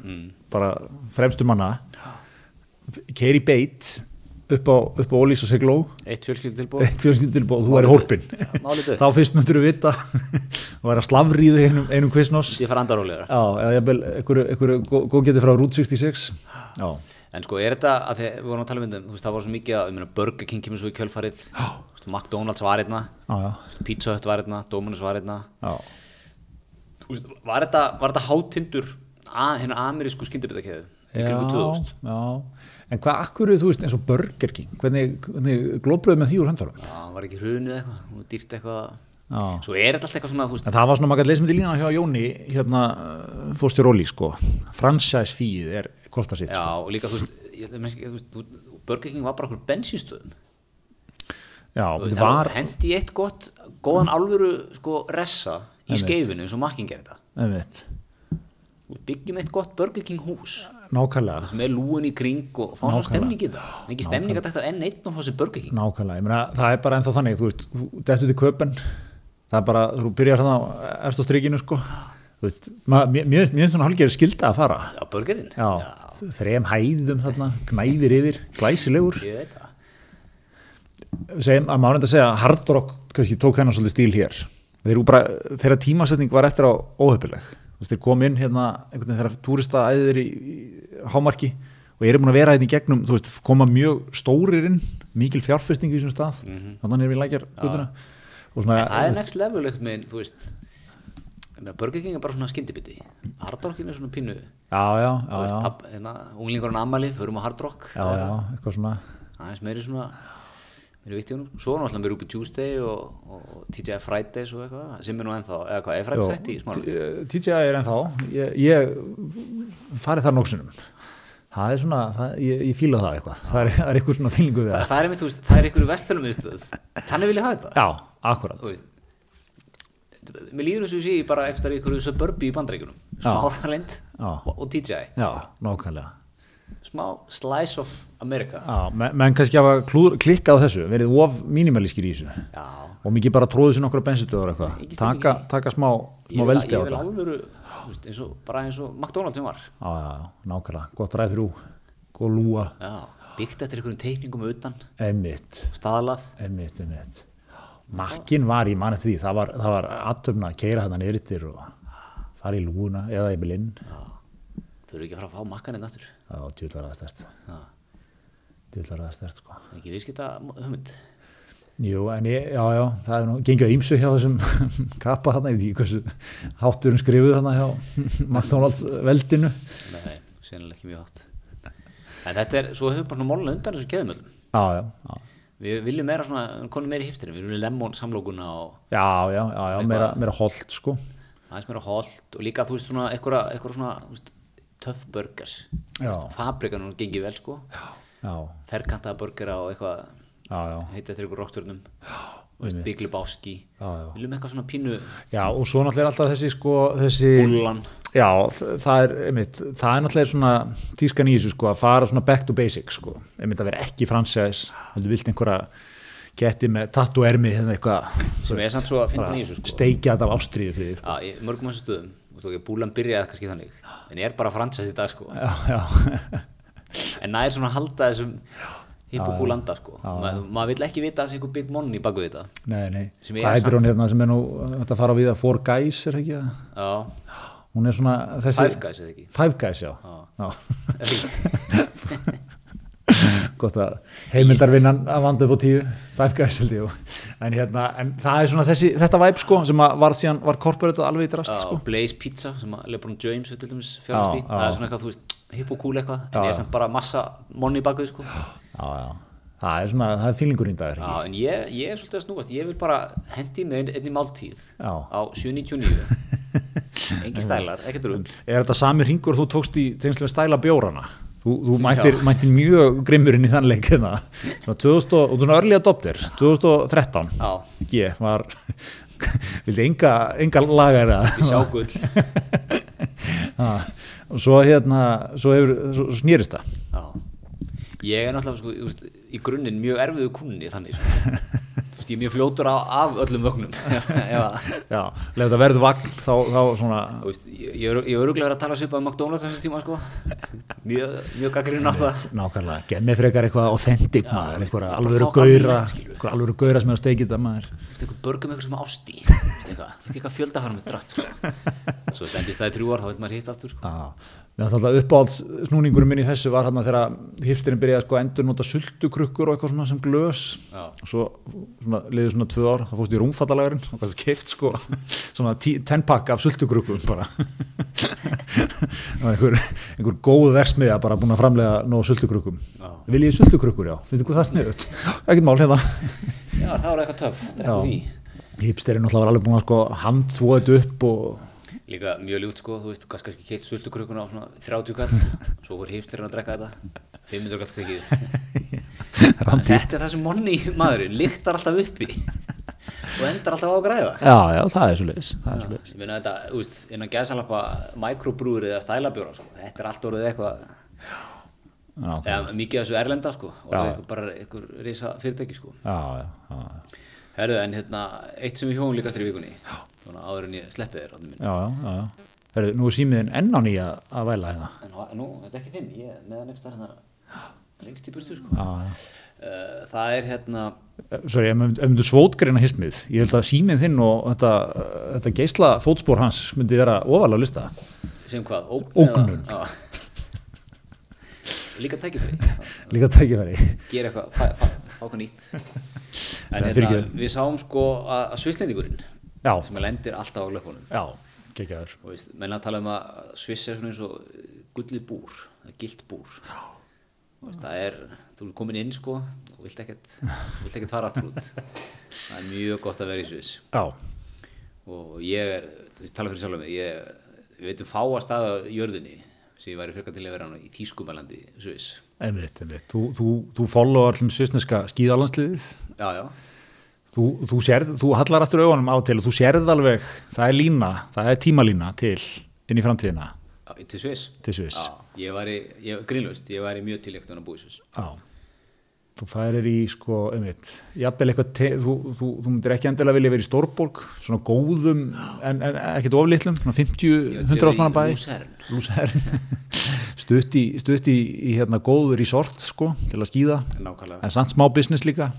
S1: bara fremstu manna keiri beitt upp á, upp á ólís og segló
S2: Eitt fjölskyldu tilbúið,
S1: eitt fjölskyldu tilbúið og þú væri hólpin
S2: Já, málið dautt.
S1: þá fyrst myndur við vita þú væri að slavriði einum, einum kvistnós
S2: ég fara andarólegar.
S1: já, eða jafnvel einhverju, einhverju gó- góðgeti frá Route 66 já,
S2: En sko, er þetta, að þið, við vorum að tala um þetta, þú veist, það var svo mikið að, ég meina, Burger King kemur svo í kjölfarið, þú veist, McDonalds var hérna,
S1: já, já,
S2: þú veist, Pizza Hut var hérna, Dominus var hérna.
S1: já.
S2: Þú veist, var þetta, var þetta hátindur að hennar amerísku skyndibitakeðu? í kringum 2000?
S1: já, en hvað akkur þú veist eins og Burger King hvernig, hvernig glópluðu með því úr höndarum
S2: Já, var ekki hrunið eitthvað, þú dýrt eitthvað.
S1: Já.
S2: Svo er þetta alltaf eitthvað svona, þú veist,
S1: en það var svona makkað leysmyndi lína hjá Jóni hérna fórstu róli sko franchise fíð er kostar sitt
S2: já,
S1: sko.
S2: og líka, þú veist, ég, ég, ég, þú veist, þú- Burger King var bara okkur bensinstöðum.
S1: já, var
S2: Það var hendi í eitt gott, góðan alvöru sko ressa í skeifinu eins og makkin gerir þetta.
S1: einmitt,
S2: Við byggjum eitt gott Burger King hús
S1: nákvæmlega
S2: sem er lúin í kring og fá svona
S1: Nákvæmlega.
S2: stemning í það. En ekki stemning að þetta enn eitt og fá sér Burger King.
S1: nákvæmlega, ég meina það er bara ennþá þannig þú veist, þú dettur til köpen það er bara, þú byrjar hérna á eftir strikinu sko þú veist, ma- mér mér finnst mér finnst svona hálfgerið skilda að fara
S2: Já, Burgerinn.
S1: já, þrem hæðum þarna gnæðir yfir, glæsilegur
S2: Ég veit það.
S1: segjum að maður reynda að segja að Hard Rock kannski tók hennar svolítið stíl hér þeir bara, þeirra tímasetning var eftir á óhefileg þeir kom inn hérna einhvern veginn þeirra túrista æðir í, í hámarki og eru múin að vera hérna í gegnum þú veist, koma mjög stórir inn mikil fjárfesting í þessum stað mm -hmm. þannig er við lækjar gutuna og svona,
S2: Mhm. Það er next level eitthvað með, þú veist, ég meina, Burger King er bara svona skyndibiti. Hard Rockin er svona pínu, þú
S1: já, já, já,
S2: veist,
S1: já,
S2: papp- hérna, unglingurinn ammali, förum á Hard Rock.
S1: já, já eitthvað svona,
S2: aðeins meiri svona meiri vitt í honum, svo er náttúrulega meiri uppi Tuesday og, og TGI Fridays og eitthvað sem er nú ennþá, eða hvað, er Fridays
S1: Jó.
S2: hætti í smá
S1: T- eh, TGI er ennþá ég, ég farið þar nóksunum það er svona, það, ég, ég fíla það eitthvað það er, það er eitthvað svona fílingu við það
S2: það er einmitt, þú veist, það er einhverju vestlunum viðstöð þannig vil ég hafa þetta
S1: Já, akkurat
S2: Þú veist, mér líður þessu sé ég bara eitthvað í einhverju suburbi í bandreikunum smá hálfalind
S1: Já.
S2: og, og TGI
S1: Já, nákvæmlega
S2: smá slice of America
S1: Já, men- menn kannski hafa klúður, klikkað á þessu verið of mínimalískir í þessu
S2: já,
S1: og mikið bara tróðið sér nokkra bensinstöður eitthvað
S2: Ekki stemning.
S1: taka, taka smá,
S2: ég
S1: smá
S2: vil,
S1: veldi á
S2: ég vil
S1: þetta Já,
S2: alvöru þú veist, eins og, bara eins og McDonalds sem var
S1: já, já, nákvæmlega, gott ræð þrjú góð lúa,
S2: já, byggt eftir einhverjum teikningum utan
S1: einmitt
S2: staðalað
S1: einmitt, einmitt Makkin var, ég manið því, það var, það var aðtöfna að keira þetta neyrittir og fara í lúuna eða í blinn
S2: þau eru ekki að fara að fá makkan einn aftur
S1: það var djúðlar aðstært
S2: já
S1: djúðlar aðstært sko
S2: Það er ekki viðskipta hugmynd
S1: Jú, en ég, já, já, það er nú gengið á ímsu hjá þessum kappa þarna, ég veit ekki hversu hátturinn skrifuð þarna hjá McDonalds veldinu.
S2: Nei, sennilega ekki mjög hátt En þetta er, svo hefur bara svona mólna undan þessum keðumöllum
S1: Já, já, já,
S2: Við viljum meira svona, konum meira í hipsterinn Við viljum lemon samlókuna og
S1: já, já, já, já meira, meira holt, sko.
S2: aðeins meira holt Og líka þú veist svona, einhverja, einhverja svona þú veist, Töff burgers
S1: Já.
S2: Fabrikan hún gengið vel sko
S1: Já,
S2: Ferkantaða burgera og eitthvað
S1: já, já,
S2: Heita eftir einhverjum rockstjörnum veist, Big Lebowski
S1: Já, já.
S2: viljum eitthvað svona pínu
S1: Já, og svo náttúrulega er alltaf þessi sko, þessi,
S2: Úllan.
S1: já, þ- það er, einmitt, það er náttúrulega svona tískan í þessu sko, að fara svona back to basics sko, einmitt að vera ekki franchise, heldur vilt einhverja geti með tatt og ermi hérna eitthvað, þú
S2: Sem er
S1: veist,
S2: samt svo að fyndin
S1: bara
S2: í þessu, sko.
S1: steikja þetta af ástríðu fyrir þér,
S2: Já, í mörgum þessu stöðum, þú veist ekki, búlan byrjaði kannski þannig, en ég er bara fransæs í dag sko,
S1: já, já,
S2: en næður svona að halda þessum hippokúlanda sko, Ma, maður vill ekki vita að það sé eitthvað big money baku við þetta,
S1: nei, nei,
S2: Sem ég
S1: hvað
S2: er
S1: heitir hún hérna sem er nú, þetta fara á við að Four Guys er það ekki það,
S2: já,
S1: hún er svona uh, þessi,
S2: five guys eða ekki,
S1: Five Guys, já, já,
S2: Eða ekki?
S1: gott að heimildarvinnan að vanda upp á tíu five guys held ég en, hérna, en það er svona þessi, þetta væp sko sem að var síðan, var corporate alveg í drast
S2: já,
S1: sko.
S2: Blaze Pizza sem að Lebron James við til dæmis fjárst í,
S1: Já, já.
S2: það er svona eitthvað, þú veist, hippokúl eitthvað, en ég er samt bara massa money baku við sko, já,
S1: já, já, það er svona, það er fílingur í dag já,
S2: en ég, ég er svolítið að snúast, ég vil bara hendi með einni máltíð
S1: Já.
S2: á 7.99, engi stælar, ekkert rugl.
S1: er þetta sami ringur þú tókst í tegnslega stæla bjórana þú, þú mættir, mættir mjög grimmurinn í þann leik hérna. svona 2000 og, og svona örlíða adopter 2013
S2: Já.
S1: G var vildi enga, enga lagar það
S2: Sjá gull,
S1: Já. og svo hérna svo, hefur, svo snýrist það
S2: Já. Ég er náttúrulega sko, þú veist, í grunninn mjög erfiðu kunni þannig sko. Þú veist, ég er mjög fljótur á, af öllum vögnum Ef að-
S1: Já, ef þetta verður vagn þá, þá svona
S2: þú veist, ég, ég er- ég er öruglega verið að tala svipað um McDonalds þessum tíma sko. mjög, mjög gaggrinn á það
S1: nákvæmlega, gef mér frekar eitthvað authentic maður, einhverja
S2: bara
S1: alvöru
S2: fá
S1: gauðra
S2: gamlegt, skilur.
S1: einhverja alvöru gauðra sem er að steikið það maður
S2: Þú veist, eitthvað börgum eitthvað sem ást í Þú veist, eitthvað, þú veist, eitthvað fjöldafara með drast sko. svo stendist það í þrjú ár þá veit maður hitt aftur sko.
S1: Já, mér fannst alltaf uppáhalds snúningurum minn í þessu var hérna þegar hipsterinn byrjaði sko, að endur nota sultukrukkur og eitthvað svona sem glös
S2: Já.
S1: og svo svona, liðið svona tvö ár, það fórst í rúmfattalagarinn og hvað það keift sko svona tí- tennpakka af sultukrukkum bara það var einhver, einhver góð versmiða bara búin að framlega nóg sultukrukkum
S2: Já.
S1: Viljið sultukrukkur, já, finnst þið hvað það sniðut? Ekkert mál hérna
S2: já, það var eitthvað töf, drekku því
S1: Hipsterinn náttúrulega var alveg búin að sko handþvóa þetta upp og
S2: líka mjög ljúft sko, þú veist, kannski ekki keitt sultukrukuna á svona 30 kall svo voru heimstirinn að drekka þetta 500 kall stekið Þetta er það sem monni maðurinn lyktar alltaf uppi og endar alltaf á að græða.
S1: Já, já, það er svo leiðis, það er svo leiðis.
S2: Ég meina þetta, þú veist, innan gæðsalapa mikrobrúður eða stælabjóra, sko. þetta er allt orðið eitthvað,
S1: Já,
S2: eða mikið af þessu erlenda, sko, orðið eitthvað, bara einhver risa fyrirtæki, sko.
S1: já, já, já,
S2: Herðu, en hérna, eitt sem við hjóðum líka eftir í vikunni, svona áður en ég sleppi þér, allir minn.
S1: já, já, já, já. Heru, nú er símiðin enn á nýja að væla hérna
S2: En nú- nú, þetta er ekki þinn, ég er meðan einhverstað hérna, lengst í burtu, sko.
S1: já, já.
S2: Uh, það er hérna,
S1: Eh, Sorry, ef maður ef maður svótgreina hismið ég held að símið þinn og þetta, þetta geisla fótspór hans myndi vera ofalega lista
S2: sem hvað, ógn
S1: Ógnun.
S2: eða- Já. Líka tækifæri. Já.
S1: líka tækifæri
S2: gera eitthvað, fá, fá, fá eitthvað nýtt en
S1: Nei,
S2: hérna,
S1: fyrirgefðu.
S2: við sáum sko að, að svislendingurinn
S1: Já.
S2: sem að lendir alltaf á löpunum
S1: já, gekkjaður
S2: og veist, menn að tala um að sviss er svona eins og gullið búr, eða gilt búr Og veist, það er, þú er komin inn sko og vilt ekkert, vilt ekkert fara aftur út það er mjög gott að vera í sviss
S1: já,
S2: og ég er, þú veist, tala fyrir sjálfum mig ég veit um fáa staða á jörðinni sem ég væri frekar til að vera hann í Þýskumalandi sviss,
S1: einmitt, einmitt þú, þú, þú follow allum svisneska skíðalansliðið
S2: já já
S1: þú, þú, sérð, þú hallar aftur augunum á til og þú sérð alveg, það er lína það er tímalína til inn í framtíðina
S2: Já, til Sviss?
S1: Til Sviss.
S2: Já, ég var í, ég, grínlaust, ég var í mjög tilíktun að búi í Sviss.
S1: Já, þú færir í sko, einmitt, jafnvel eitthvað, te- þú, þú, þú myndir ekki endilega vilja verið í Stórborg, svona góðum, en, en ekkert oflitlum, svona 50, 100 ásmanna bæ.
S2: Lúsern.
S1: Lúshern. stutt í, stutt í, í hérna, góður í sort, sko, til að skýða,
S2: Nákvæmlega.
S1: en samt smá business líka,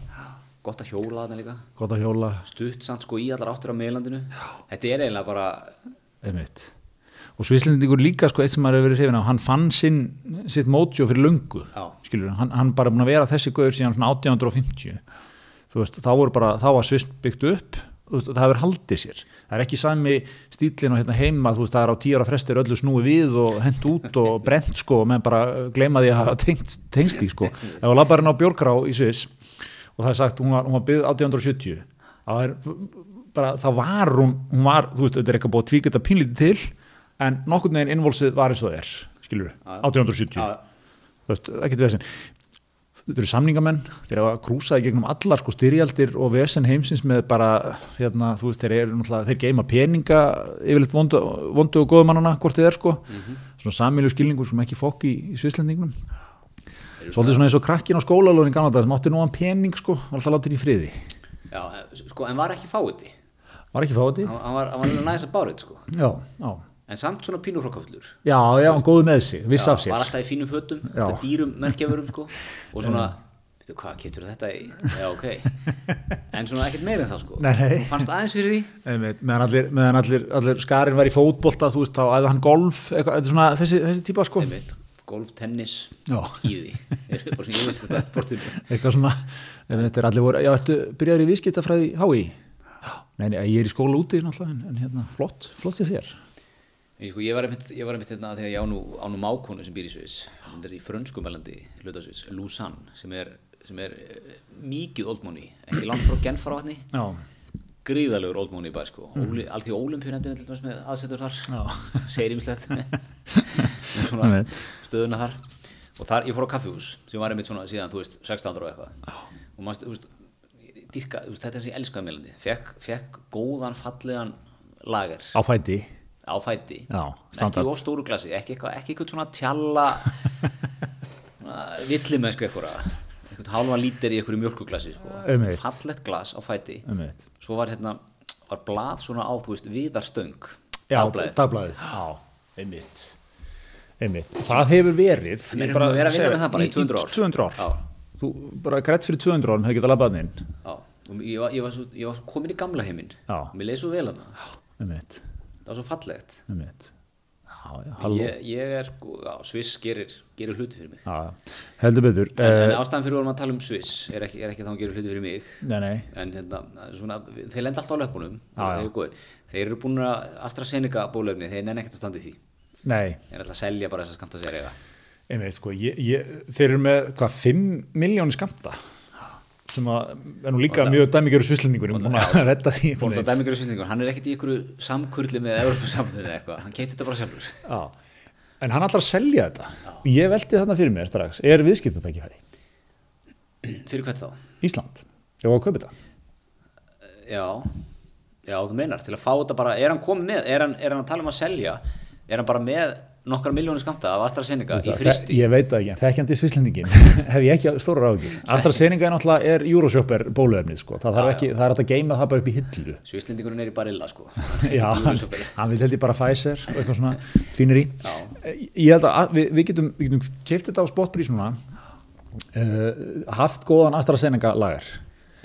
S2: Gott að hjóla þarna líka.
S1: gott að hjóla,
S2: Stutt samt sko í allar áttur á meðlandinu. Þetta er eiginlega bara,
S1: einmitt. Og svislendingur líka, sko, eitt sem maður hefur verið hrifin á, hann fann sinn, sitt mótjó fyrir löngu,
S2: Já.
S1: skilur, hann, hann bara búin að vera þessi gauður síðan svona 1850, þú veist, þá voru bara, þá var svist byggt upp, þú veist, það hefur haldið sér, það er ekki sami stílinn og hérna heima, þú veist, það er á tíu ára fresti er öllu snúið við og hent út og brent, sko, menn bara gleyma því að hafa tengst, tengst því, sko, ef þú labbar hérna á Björgrá í Sviss og það er sagt, hún var, hún var byggð 1870, það er bara, það var hún, hún var, þú veist, þetta er eitthvað búið að tvíka þetta pínlítið til, en nokkurn veginn innvolsið var eins og það er, skilur, 1870
S2: Já.
S1: þú veist, ekkert veginn þetta eru samningamenn, þeir hafa krúsaði gegnum allar sko styrjaldir og vesen heimsins með bara, hérna, þú veist, þeir eru náttúrulega, þeir geima peninga yfirleitt vondu, vondu og góðmannana, hvort þið er sko, svona samílu skilningur sem ekki fokk í, í svislendingnum. Svolítið svona eins og krakkin á skólalóðin gana það sem átti nógan pening sko, var alltaf látið í friði.
S2: Já, eh, sko, en var ekki fáiði
S1: Var ekki fáið
S2: hann hann var, hann var alveg næs að bárið sko.
S1: Já, já,
S2: en samt svona pínu hrokkaflur
S1: já, já, hann góði með sig, viss af
S2: var
S1: sér.
S2: alltaf í fínum fötum,
S1: Já.
S2: alltaf dýrum merkjafurum sko. og svona, veitu hvað getur þetta í já ok, en svona ekkert meira en það sko,
S1: Nei, nei.
S2: Þú fannst aðeins fyrir því
S1: Einmitt, meðan allir, meðan allir, allir skarinn var í fótbolta, þú veist, þá æði hann golf, eitthvað, þetta er svona þessi, þessi típa sko.
S2: Einmitt, golf, tennis,
S1: Já.
S2: skíði er bara svona ég veist þetta sportum
S1: eitthvað svona ef þetta er allir voru, já, ertu byrjaður í viðskiptafræði HÍ? Nei, nei, ég er í skóla úti náttúrulega, en, en hérna, flott, flott í þér
S2: Ég, sko, ég var einmitt, ég var einmitt hérna þegar ég á nú, á nú mákonu sem býr í Sviss hann er í frönskumælandi hlutasviss Lausanne sem er, sem er eh, mikið oldmóni, ekki langt frá genfaravatni
S1: Já,
S2: gríðalegur oldmóni bæ sko Óli, allt því ólimpíunendin til dæmis með aðsetur þar
S1: Já.
S2: segir ímslegt
S1: Nei.
S2: svona stöðuna þar og þar ég fór á kaffihús sem var einmitt svona síðan, þú veist, 16 ára og eitthvað og maður, þú veist, ég dýrka, þú veist, þetta er sem ég elskaði meilandi fekk, fekk góðan fallegan lager
S1: á fæti
S2: á fæti
S1: Já, standard.
S2: ekki of stóru glasi, ekki eitthvað ekki eitthvað svona tjalla villi með sko eitthvað eitthvað hálfa lítir í eitthvað mjölkuglasi sko.
S1: Einmitt.
S2: fallett glas á fæti
S1: Einmitt.
S2: svo var hérna var blað svona á, þú veist, viðarstöng
S1: Já,
S2: dagblaðið.
S1: dagblaðið Já, einmitt Einmitt, það hefur verið
S2: Við
S1: ég
S2: erum
S1: bara
S2: búin að vera að vinna
S1: segi-
S2: með það bara í 200 ár.
S1: 200 ár
S2: Já.
S1: Þú bara grætt fyrir 200 árum hefur getað labbað inn
S2: Já, og ég var, ég var, svo, ég var svo komin í gamla heiminn
S1: Já.
S2: mér leið svo vel hana,
S1: Einmitt,
S2: það var svo fallegt
S1: einmitt Já, já, halló
S2: ég, ég er sko, já, Sviss gerir, gerir hluti fyrir mig
S1: Já, já. heldur betur
S2: en
S1: Eh,
S2: ástæðan fyrir vorum að tala um Sviss er ekki, er ekki þá að gera hluti fyrir mig
S1: Nei, nei
S2: en hérna, svona, þeir lenda alltaf á löpunum
S1: Já, já.
S2: þeir eru góðir, þeir eru búin að AstraZeneca bólöfni, þeir nenni ekkert að standa í því
S1: Nei,
S2: þeir ætla að selja bara þess að skamta sér
S1: Einmitt, sko, ég, ég, þeir eru með hvað, 5 miljónir skamta sem að, er nú líka mjög dæmikjöru svislendingunum búin að redda því einhvern
S2: Fólk að
S1: veginn.
S2: dæmi ykkur sýndingur, hann er ekkert í ykkur samkurli með Evropasamtöðu eða eitthvað, hann keitt þetta bara sjálfur
S1: Já. en hann ætlar að selja þetta og ég velti þarna fyrir mér strax er viðskiptatækifæri,
S2: Fyrir hvert þá?
S1: Ísland ég var að kaupa þetta,
S2: Já, já þú meinar, til að fá þetta bara, er hann komið með, er hann, er hann að tala um að selja, er hann bara með nokkar miljónu skamta af AstraZeneca í
S1: Þe-
S2: fristi?
S1: ég veit það ekki, en þekkjandi svislendingin hef ég ekki stóra ráðgjur AstraZeneca er náttúrulega er Euroshop er bóluefnið sko. það, þarf ekki, það er hægt að geima það bara upp í hillu
S2: Svíslendingurinn er í barilla sko
S1: Já, hann, hann vil held ég bara Pfizer og eitthvað svona fínir í ég held að við, við getum, við getum keift þetta á spotprís núna uh, haft góðan AstraZeneca lagar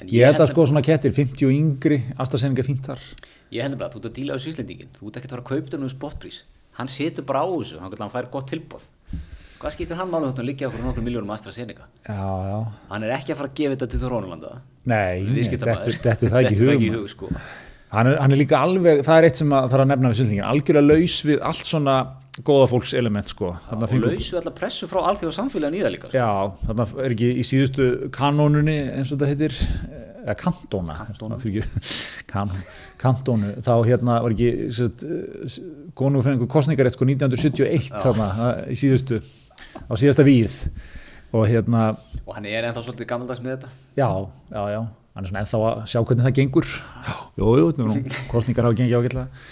S2: En
S1: ég,
S2: ég
S1: held
S2: held
S1: að sko svona kettir 50 og yngri AstraZeneca fíntar
S2: Ég heldur bara að þú ert að díla á Svíslendingin, þú ert ekkert að fara að kaupa þetta um spotprís, hann setur bara á þessu, þannig að hann fær gott tilbóð Hvað skiptir hann málum þetta að liggja okkur nokkur miljónum AstraZeneca?
S1: já, já,
S2: Hann er ekki að fara að gefa þetta til Þrónulanda
S1: nei, nei,
S2: Viðskiptamaður.
S1: dettur dettur það ekki í
S2: í
S1: hugum
S2: hug sko
S1: hann er, hann er líka alveg, það er eitt sem að þarf að nefna við sildingin, algjörlega laus við allt svona góða fólks element sko Þarna
S2: og lausu allar pressu frá alþjóða samfélagin í það líka sko.
S1: Já, þarna er ekki í síðustu kanónunni eins og þetta heitir eða kantóna
S2: Kantóna.
S1: fyrir ekki, kan, kantónu þá hérna var ekki sett, konu fengur kostningarétt sko 1971 þarna að- í síðustu á síðasta víð og hérna,
S2: og hann er ennþá svolítið gammaldags með þetta
S1: já, já, já hann er svona ennþá að sjá hvernig það gengur jú, jú, nú, kostningar hafa gengið ágætlega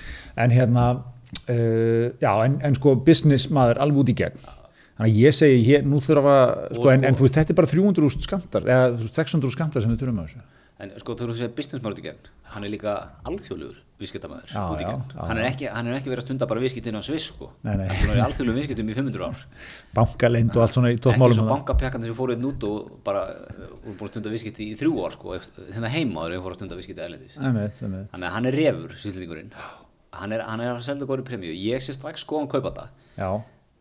S1: en hérna uh, já, en, en sko business maður alveg út í gegn þannig að ég segi, hér, nú þurfa sko,
S2: Og
S1: en,
S2: sko-
S1: en þú veist, þetta er bara 300.000 skamtar eða þú veist, 600.000 skamtar sem við þurfum á þessu
S2: en sko þú erum að segja business maður út í gegn hann er líka alþjóðlegur viðskiptamæður
S1: Já,
S2: út í
S1: já,
S2: gegn
S1: já,
S2: hann er ekki, hann er ekki verið að stunda bara viðskiptina á Sviss sko
S1: Nei, nei.
S2: hann er alþjóðlegum viðskiptum í 500 ár
S1: bankalind og allt svona í
S2: ekki
S1: tóttmálum
S2: svo bankapjakandi sem fóru einn út og bara uh, voru búin að stunda viðskipti í þrjú ár sko þennan heima þegar við fóru að stunda viðskipti erlendis
S1: einmitt, einmitt.
S2: þannig að hann er refur, sýslendingurinn hann er, hann er að selja góðri premju ég sé strax skoðan kaupa þetta
S1: já,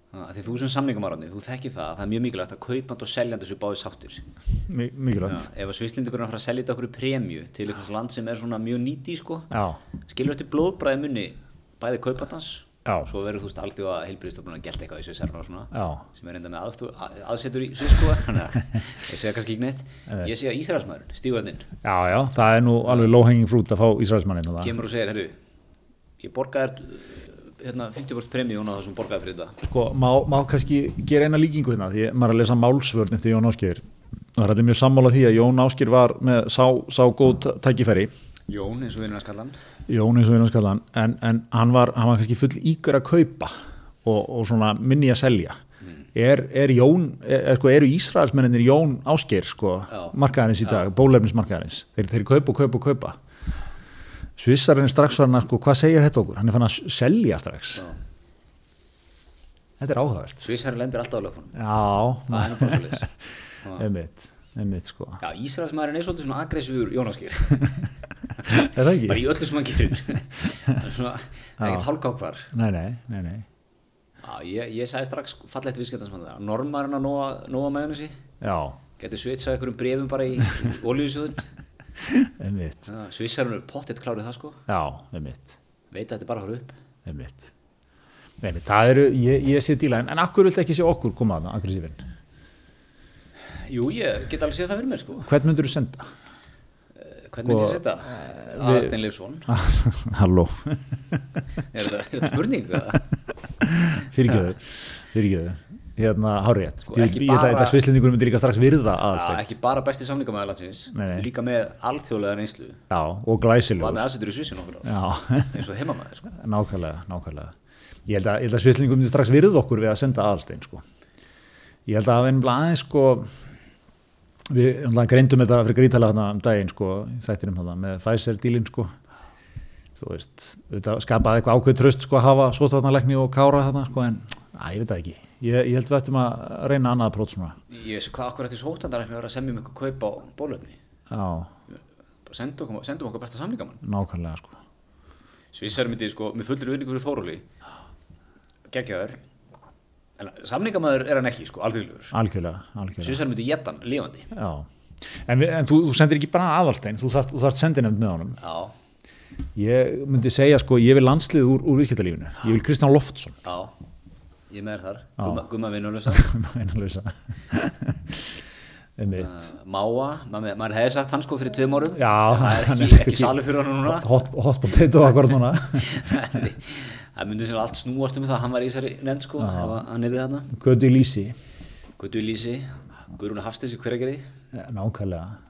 S2: Þannig að því þú sem samningamarðni, þú þekkir það, það er mjög mikilvægt að kaupand og seljandi séu báði sáttir.
S1: mi-
S2: Ja,
S1: mikilvægt
S2: ef að svislendingurinn er að fara að selja þetta okkur í premju til einhvers land sem er svona mjög nýti, sko,
S1: já,
S2: skilur þetta blóðbræði munni bæði kaupandans,
S1: Já.
S2: svo verður þú veist alltaf að heilbyrðistofnun að gælt eitthvað í þessu serna og svona,
S1: já,
S2: sem er enda með aðstu, að, aðsetur í svisko, þannig að ég segja kannski ekki neitt. Ég segja Ísraelsmaðurinn, stígurðinn,
S1: já, já það er nú alveg low-hanging fruit að fá Ísraelsmannin og það
S2: kemur og segir, herru, ég borgaði þér, hérna 50% premjón á það sem þú borgaði fyrir þetta.
S1: sko, má, má kannski gera eina líkingu hérna því ég- maður er að lesa málsvörn eftir Jón Áskeiður Það er þetta mjög sammála því að Jón Áskir var með sá, sá góð ta- tækifæri
S2: Jón eins og vinnur að skalla hann
S1: Jón eins og við erum að skalla hann en, en hann, var, hann var kannski full ígur að kaupa og, og svona minni að selja
S2: Hmm.
S1: er, er Jón, er, er, sko, eru Ísraelsmenninir Jón Áskir sko,
S2: Já.
S1: markaðarins í dag, bólefnismarkaðarins þeir, þeir kaupa og kaupa og kaupa Svissarinn er strax farin að sko, hvað segir þetta okkur? Hann er fann að s- selja strax
S2: Já.
S1: Þetta er áhugavert
S2: Svissari lendir alltaf á löpunum
S1: Já,
S2: Það er nú bara svoleiðis. Já.
S1: einmitt, einmitt sko
S2: Já, Ísraelsmaðurinn er svolítið svona aggressífur Jónaskir
S1: Er það
S2: bara
S1: ekki?
S2: í öllu sem hann gerir Það er svona, það er ekkert hálkákvar
S1: Nei, nei, nei, nei
S2: Já, ég, ég sagði strax fallegt viðskiptansmann það normarinn að nóa, nóa meðunissi
S1: Já,
S2: getur svitsað einhverjum brefum bara í olíusjóðun
S1: einmitt
S2: Svissarinn er pottitt klárið það sko
S1: Já, einmitt,
S2: veit að þetta er bara að fara upp
S1: einmitt Einmitt, það eru, ég, ég sé díla en, en akkur vilt ekki sé okkur koma að aggressífin
S2: Jú, ég get alveg séð það fyrir mér sko Eh,
S1: Hvern myndur þú senda?
S2: Hvernig myndi ég setja? Aðarstein Leifsson
S1: Halló,
S2: Er þetta er þetta spurning? eða?
S1: fyrirgjöðu fyrirgjöðu, hérna, hárétt
S2: Sko,
S1: ég,
S2: ekki
S1: ég ætla
S2: bara-
S1: að þetta svislinningur myndi líka strax virða
S2: Já,
S1: aðstæk
S2: Ah, Ekki bara besti samningamæður landsins
S1: Nei, nei.
S2: líka með alþjóðlega reynslu
S1: Já, og
S2: var
S1: glæsilegur
S2: með aðsveitur í Svissin okkur á
S1: Já,
S2: eins og heimamæður sko
S1: nákvæmlega, nákvæmlega ég held að, ég held að svislingur myndi strax virða okkur við að senda aðalstein sko. ég held að það verðum aðeins sko við náttúrulega greindum þetta fyrir grítala þarna um daginn sko, í þættinum þarna með Pfizer dílin sko þú veist, þetta skapaði eitthvað ákveð tröst sko að hafa sóttvarnalegni og kára þarna sko en, að ég veit það ekki ég, ég held við ættum að reyna annað prót svona
S2: Ég veist hvað okkur eftir sótandarækni að vera að semja um eitthvað kaup á bólöfni
S1: já,
S2: sendum okkur, sendum okkur besta samningamann
S1: nákvæmlega sko
S2: Svissar myndi sko, með fullir uðningur fyrir Þóróli geggjaður en samningamæður er hann ekki sko, alþjóðlegur
S1: algjörlega, algjörlega
S2: Svissar myndi geta hann lifandi
S1: já. en, við, en þú, þú sendir ekki bara aðalstein þú þarft, þú þarft sendinemnd með honum
S2: Já,
S1: Ég myndi segja sko, ég vil landslið úr, úr viðskiptalífinu. Ég vil Kristján Loftsson.
S2: já, ég með þér þar Gumma vinnunlösa
S1: Einanlausa.
S2: Ah.
S1: Einmitt.
S2: Eh, Máa, maður, maður hefði sagt hann sko fyrir tveim árum
S1: Já,
S2: En það er
S1: hann
S2: ekki,
S1: er
S2: ekki
S1: ekki-
S2: salið fyrir hann núna
S1: Hot, hot potato akkur núna.
S2: það myndi sem allt snúast um það að hann var í þessari nefnd sko, ef að hann er í þarna
S1: Götu í lísi.
S2: Guðdu Lísi, Guðrún Hafstis í Hveragerði
S1: Nákvæmlega.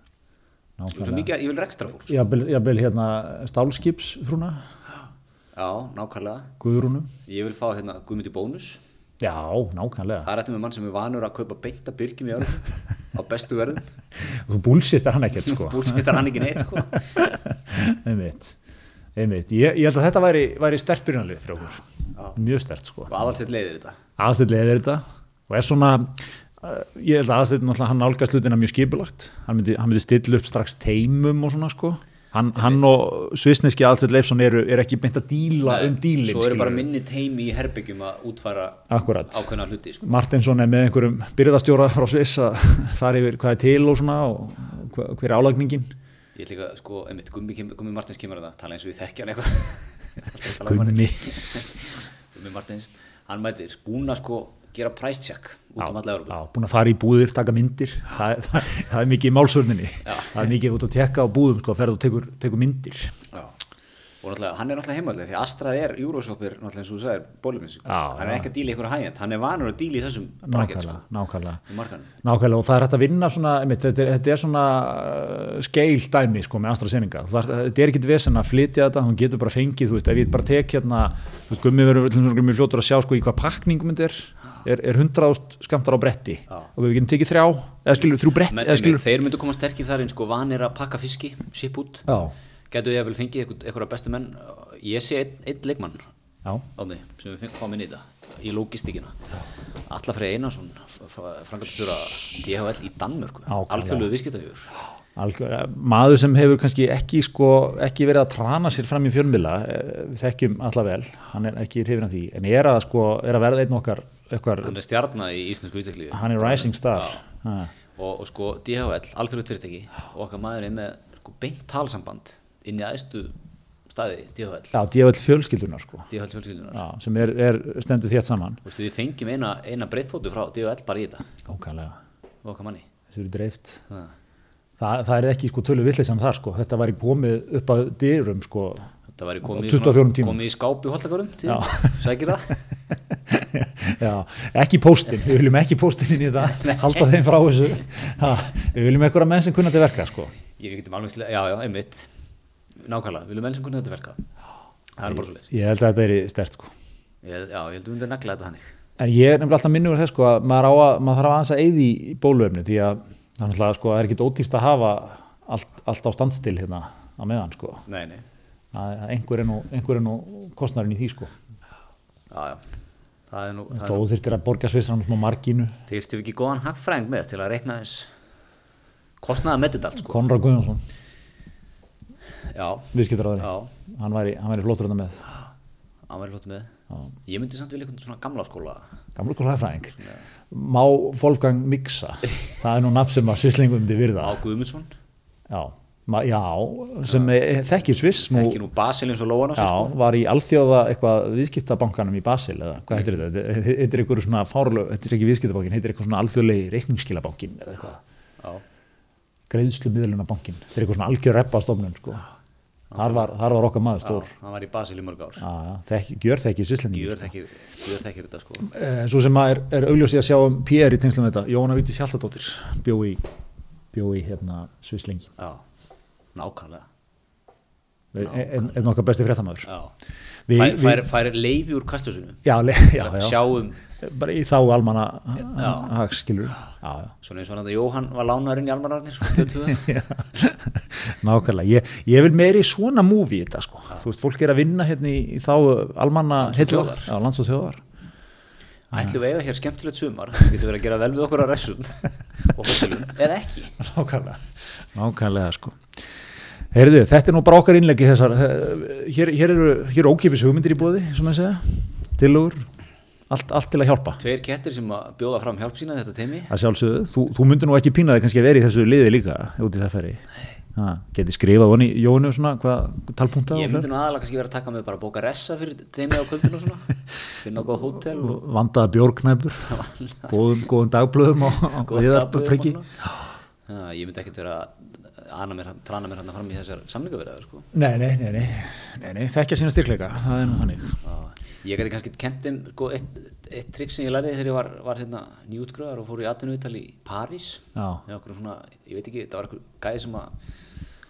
S2: Ég vil
S1: Nákvæmlega.
S2: mikið, ég vil rekstra fólk
S1: Jafnvel jafnvel, hérna stálskips frúna,
S2: Já, nákvæmlega
S1: guðrúnum.
S2: Ég vil fá hérna Guðmundi Bónus
S1: Já, nákvæmlega.
S2: Það er þetta með mann sem er vanur að kaupa beinta byrgjum í árum á bestu verðum
S1: Þú búlsittar hann ekkert sko.
S2: Búrsveitar hann ekki neitt sko
S1: Einmitt. Einmitt. Ég, ég held að þetta væri, væri stert byrjanlið fyrir okkur. Mjög stert sko.
S2: og aðalsett leiðir þetta
S1: aðstætt leiðir þetta og er svona uh, ég held að aðstætt náttúrulega hann nálgast hlutina mjög skipulagt hann myndi, hann myndi stilla upp strax teimum og svona sko hann, hann og svisneski aðstætt leifsson eru, eru ekki beint að díla um dílin
S2: Svo eru bara minni teimi í herbyggjum að útfæra
S1: akkurat
S2: ákveðna hluti sko
S1: Martinsson er með einhverjum byrðastjóra frá Sviss að fara yfir hvað er til og svona og hva- hver er álagningin
S2: Ég ætla líka sko, einmitt, Gummi, kem- Gummi Martins kemur að það tala eins og við þekkja hann eitthvað Tala um hann.
S1: Gummi
S2: Gummi Martins, hann mætir búin að sko gera price check út um alla Európa
S1: Já, búin að fara í búðir, taka myndir það, er- það, það er mikið í málsvörninni það er mikið út að tekka á búðum sko, ferð og tekur, tekur myndir
S2: Já. og náttúrulega, hann er náttúrulega heimallega því að Astra er Euroshopper, náttúrulega eins og þú sagðir bólumins,
S1: Já,
S2: hann er ekki að díla í einhverja hægjant hann er vanur að díla í þessum bracket sko,
S1: nákvæmlega, nákvæmlega
S2: í markanum
S1: Nákvæmlega og það er hægt að vinna svona, einmitt, þetta, er, þetta er svona uh, skeil dæmi sko með AstraZeneca, Þú þarft- þetta er ekkit vesen að flytja þetta, þú getur bara fengið, þú veist, ef ég bara tek hérna, þú veist, gummi verður til dæmis mjög fljótur að sjá sko í hvað pakningum þetta er, er, er 100 skamtar á bretti
S2: Já.
S1: og við getum tekið þrjá, eða skilur þrjú brett,
S2: Men,
S1: eða
S2: einmitt,
S1: skilur,
S2: þeir myndu koma sterkir þar eins sko vanir að pakka fiski, ship út
S1: já,
S2: gætu ég að vel fengið einhver- einhverja bestu menn ég sé einn einn leikmann
S1: já,
S2: áni, sem við fengum komin í þetta í logistíkina Allafrey Einarsson frangatastjóra DHL í Danmörku
S1: Ákaflega.
S2: alþjóðluðu viðskiptafjör
S1: algjör, eh, maður sem hefur kannski ekki sko, ekki verið að trana sér fram í fjölmila, við þekkjum alla vel, hann er ekki hrifin af því, en er að sko, er að verða einn okkar, okkar
S2: hann er stjarnar í íslensku viðskiptlífi
S1: hann er rising star ha.
S2: og, og sko DHL, alþjóðluðu fyrirtæki og okkar maður er með sko, beint talsamband inn í aðstu staði DHL,
S1: já, djöfell fjölskyldunar sko
S2: DHL fjölskyldunar
S1: já, sem er, er stendur þétt saman
S2: Þú veist, við fengjum eina, eina breyðfótu frá DHL bara í þetta,
S1: ókvæmlega,
S2: og okkar manni
S1: þessu eru dreift
S2: það
S1: Þa, það er ekki sko tölu villis sem þar sko þetta væri komið upp að dyrum sko
S2: Þetta væri komið, í
S1: 24
S2: svona-
S1: tímum.
S2: komið í skáp í holdakarum
S1: Já.
S2: sækir það
S1: Já, ekki póstinn, við viljum ekki póstinn inn í þetta, halda þeim frá þessu ha, við viljum einhverja menn sem kunna til verka sko.
S2: Ég getum alveg slega, já, já, einmitt Nákvæmlega, við viljum enn sem kunna þetta verka Það er bara svo leis
S1: ég held að þetta er stert sko.
S2: Já, ég held um þetta negla þetta hannig
S1: en ég er nefnilega alltaf minnur þess sko, að maður, á að, maður þarf aðeins að eyði í bóluefni því að það er náttúrulega, sko, það er ekkit ódýrt að hafa allt, allt á standstil hérna á meðan sko.
S2: Nei, nei,
S1: að að einhver er nú, einhver er nú kostnarinn í því sko.
S2: já, já Það er nú, það
S1: Þetta óþyrtir að borga svissanum smá marginu
S2: þyrftum við ekki góðan hagfræðing með til að reikna þess kostnaða með þetta allt sko
S1: Konrad Guðjónsson,
S2: Já, já,
S1: viðskiptaráðurinn hann væri, hann væri flótur þetta með
S2: hann væri flott með Ég myndi samt vilja einhvern svona gamla skóla
S1: gamla kólhæðfræðing Má Wolfgang Miksa það er nú nafn sem að svisslingum til virða
S2: Á Guðmundsson,
S1: já, ma, já sem já. þekkir sviss nú,
S2: ekki nú Basil eins og Lóan á
S1: já,
S2: sér sko
S1: var í alþjóða eitthvað viðskiptabankanum í Basel eða hvað heitir þetta, Þetta- þetta heitir einhverju svona fárlög, þetta er ekki viðskiptabankin, heitir eitthvað svona alþjóðlegi reikningsskilabankin eða eitthvað,
S2: Já,
S1: greiðslu miðlunabankin þetta er eitthvað svona algjör reppa stofnun sko. þar, var, þar var okkar maður stór
S2: hann var í Basil í mörg ár
S1: Já, já, þekki, gjör þekkir svisslendingi
S2: Gjör þekkir gjör þekkir þetta sko
S1: Eh, Svo sem að er, er augljósið að sjá um PR í tengslum við þetta, Jóhanna Víti Hjaltadóttir bjó í, bjó í hérna, Svislingi,
S2: Já, nákvæmlega
S1: Eh, einn einn okkar besti fréttamaður.
S2: Já,
S1: Við-
S2: fær,
S1: við-
S2: fær, fær leifi úr um kastusunum
S1: Já, le, já, já,
S2: Sjáum,
S1: bara í þá almanna hags, skilur. Já, já.
S2: svona eins og hann að Jóhann var lánaður inn í almanarnir sko, 22.
S1: Já. Nákvæmlega, ég, ég vil meiri svona múvi þetta sko, þú veist, fólk er að vinna hérna í, í þá almanna heillar,
S2: þjóðar.
S1: já, lands og þjóðar
S2: Ætlum við eða hér skemmtilegt sumar Við getum verið að gera vel við okkur á resum og hótelum, eða ekki
S1: Nákvæmlega Nákvæmlega sko Heyrðu, þetta er nú bara okkar innleggi þessar eh, Hér, hér eru, hér eru ókipis hugmyndir í bóði sem að segja, tilugur allt, allt til að hjálpa
S2: Tveir kettir sem að bjóða fram hjálp sína í þetta teimi
S1: að sjálfsögðu, þú, þú myndir nú ekki pína þig kannski að vera í þessu liði líka út í það ferri ha, geti skrifað honni Jónu svona hvað talpunta
S2: Ég myndi nú aðalega kannski vera að taka með bara að bóka ressa fyrir teimi á kvöldinu og svona finna góð hótel og
S1: vandaða bjórknæpur góðum, góðum dagblöðum á, á
S2: gott
S1: viðarpriki
S2: dagblöð og svona. Já, Ég myndi ekkert vera að ana mér, trana mér hann fram í þessar samlingaverðar sko.
S1: nei, nei, nei, nei, nei, nei, þekkja sína styrkleika það er nú þannig
S2: Já, Ég gæti kannski kent þeim sko, eitt, eitt trikk sem ég lærði þegar ég var, var hérna, nýutgröðar og fór í atvinnuvital í París
S1: Já.
S2: með okkur svona, ég veit ekki, það var eitthvað gæði sem að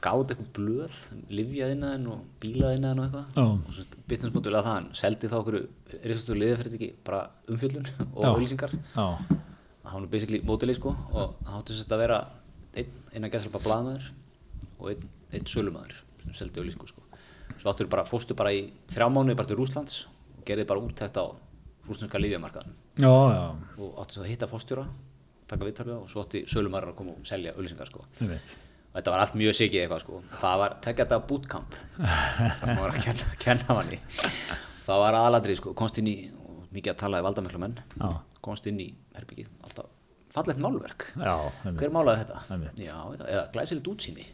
S2: gáði eitthvað blöð livjaðinnaðin og bílaðinnaðin og
S1: Já.
S2: eitthvað og svo business.lega það hann seldi þá okkur risastu liðafyrirtæki bara umfyllun og
S1: Já.
S2: auðlýsingar
S1: já,
S2: það var nú basically mótilið sko og það hátti sérst að vera einn, einn að gæslepa blaðmaður og einn, einn sölumæður sem seldi auðlýsingu sko svo áttur bara, fórstu bara í þrjá mánuði bara til Rúslands og gerði bara úttekt á rúslandska lífjamarkaðan
S1: já, já,
S2: og átti svo að hitta fórstjóra taka viðtalið og svo átti sölumæður að koma og selja auðlýsingar sko
S1: ég veit
S2: og þetta var allt mjög sikið eitthvað sko það var, tekja þetta bootcamp það var að kenna, kenna manni það var aðladrið sko, komst inn í og mikið að tala í valdamiklu menn
S1: Já.
S2: komst inn í herbyggið, alltaf fallegt málverk
S1: Já, einmitt.
S2: hver málaði þetta?
S1: Einmitt.
S2: Já, já, eða glæsilegt útsýni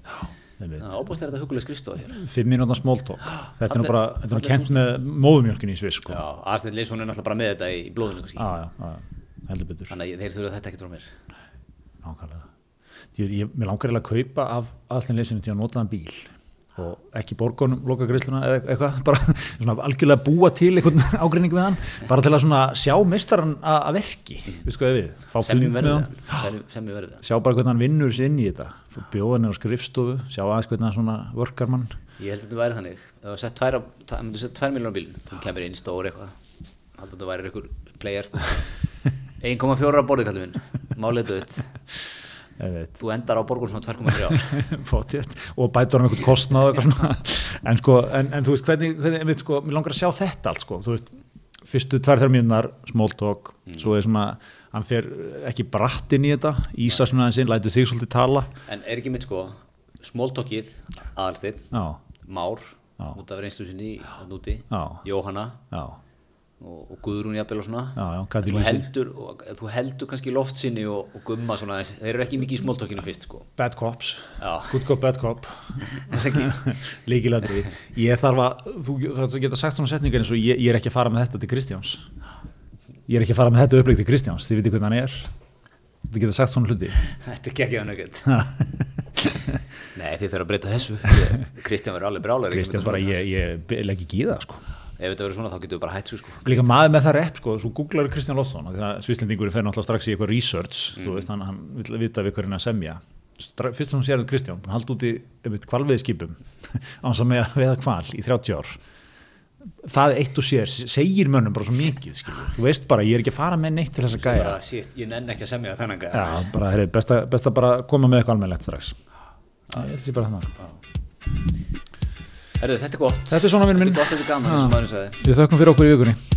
S1: Einmitt.
S2: það opast er þetta huguleg skristofa hér
S1: fimm mínúndan smóltók þetta er nú
S2: Fallegt-
S1: bara, þetta er nú kemst með móðumjölkin í Sviss sko.
S2: já, Arstein Leifsson er náttúrulega bara með þetta í blóðinu kannski.
S1: já, já, já, heldur betur
S2: þannig að ég- þeir þurfa þetta ekkert frá mér
S1: nákvæmlega ég, ég, mér langar eiginlega að kaupa af aðallin leysinu til að nota þann bíl og ekki borgunum, loka greiðsluna eða eitthvað, bara svona algjörlega búa til einhvern ágreining við hann, bara til að svona sjá mistaran að að verki við sko við, fá fund
S2: semjum
S1: með
S2: verðið
S1: hann
S2: það semjum verðið það
S1: sjá bara hvernig hann vinnur sér inn í þetta bjóða hann á skrifstofu, sjá aðeins hvernig hann svona vörkar mann,
S2: Ég held að þetta væri þannig Ef þú sett tvær, á- það myndir sett tvær miljónar bílinn þú kemur inn stór eitthvað held að þetta væri ykkur player sko. 1,4 á borðið kallum minn málið dött
S1: ef við
S2: þú endar á borgun svona 2,3
S1: Fótið, og bætur hann einhvern kostnað og eitthvað svona en, sko, en, en þú veist hvernig, hvernig einmitt, sko, mér langar að sjá þetta allt sko, þú veist, fyrstu tvær þær mínunar small talk, svo er svona hann fer ekki bratt inn í þetta Ísa svona aðeins inn, lætur þig svolítið tala
S2: en er ekki mitt sko smóltokkið aðalstinn
S1: já,
S2: Már út af reynslu sinni í núti
S1: Já.
S2: Jóhanna
S1: já,
S2: og, og Guðrún jafnvel og svona
S1: Já, já,
S2: En
S1: Katrín
S2: þú
S1: Lýsir.
S2: heldur, og, þú heldur kannski loftsinni og, og gumma svona aðeins. þeir eru ekki mikið í smóltokkinu fyrst sko
S1: bad cops
S2: Já.
S1: good cop, bad cop líkilandri, ég þarf að þú þarf að geta sagt svona setningar eins og ég, ég er ekki að fara með þetta til Kristjáns ég er ekki að fara með þetta upplegg til Kristjáns þið veitir hvernig hann er þú geta sagt svona hluti
S2: Þetta er geggjaðan ekkert Nei, þið þurfum að breyta þessu Kristján verður alveg brálaður
S1: Kristján bara, ég, ég legg ekki í það sko.
S2: ef þetta verður svona þá getum við bara hætt svo sko
S1: Líka maður með það rep, sko, svo googlar Kristján Lófsson því að svislendingurinn fer náttúrulega strax í eitthvað research, þú veist, hann, hann vil vita við hverjum að semja. Stra- Fyrst sem hún sér að Kristján, hann haldi úti einmitt kvalveiðskipum án sem með að veiða kval í 30 ár. Það eitt og sér segir mönnum bara svo mikið, skilju. Þú veist bara, ég er ekki að fara með neitt til þess að gæja.
S2: bara, shit, ég nenn ekki að semja við þennan gæja
S1: Já, bara, heyri, besta, besta bara koma með eitthvað almennlegt strax. Það er bara þannig.
S2: Herðu, þetta er gott
S1: Þetta er svona, vinur minn.
S2: Þetta er gott, þetta er gaman, eins og maðurinn sagði
S1: Við þökkum fyrir okkur í vikunni.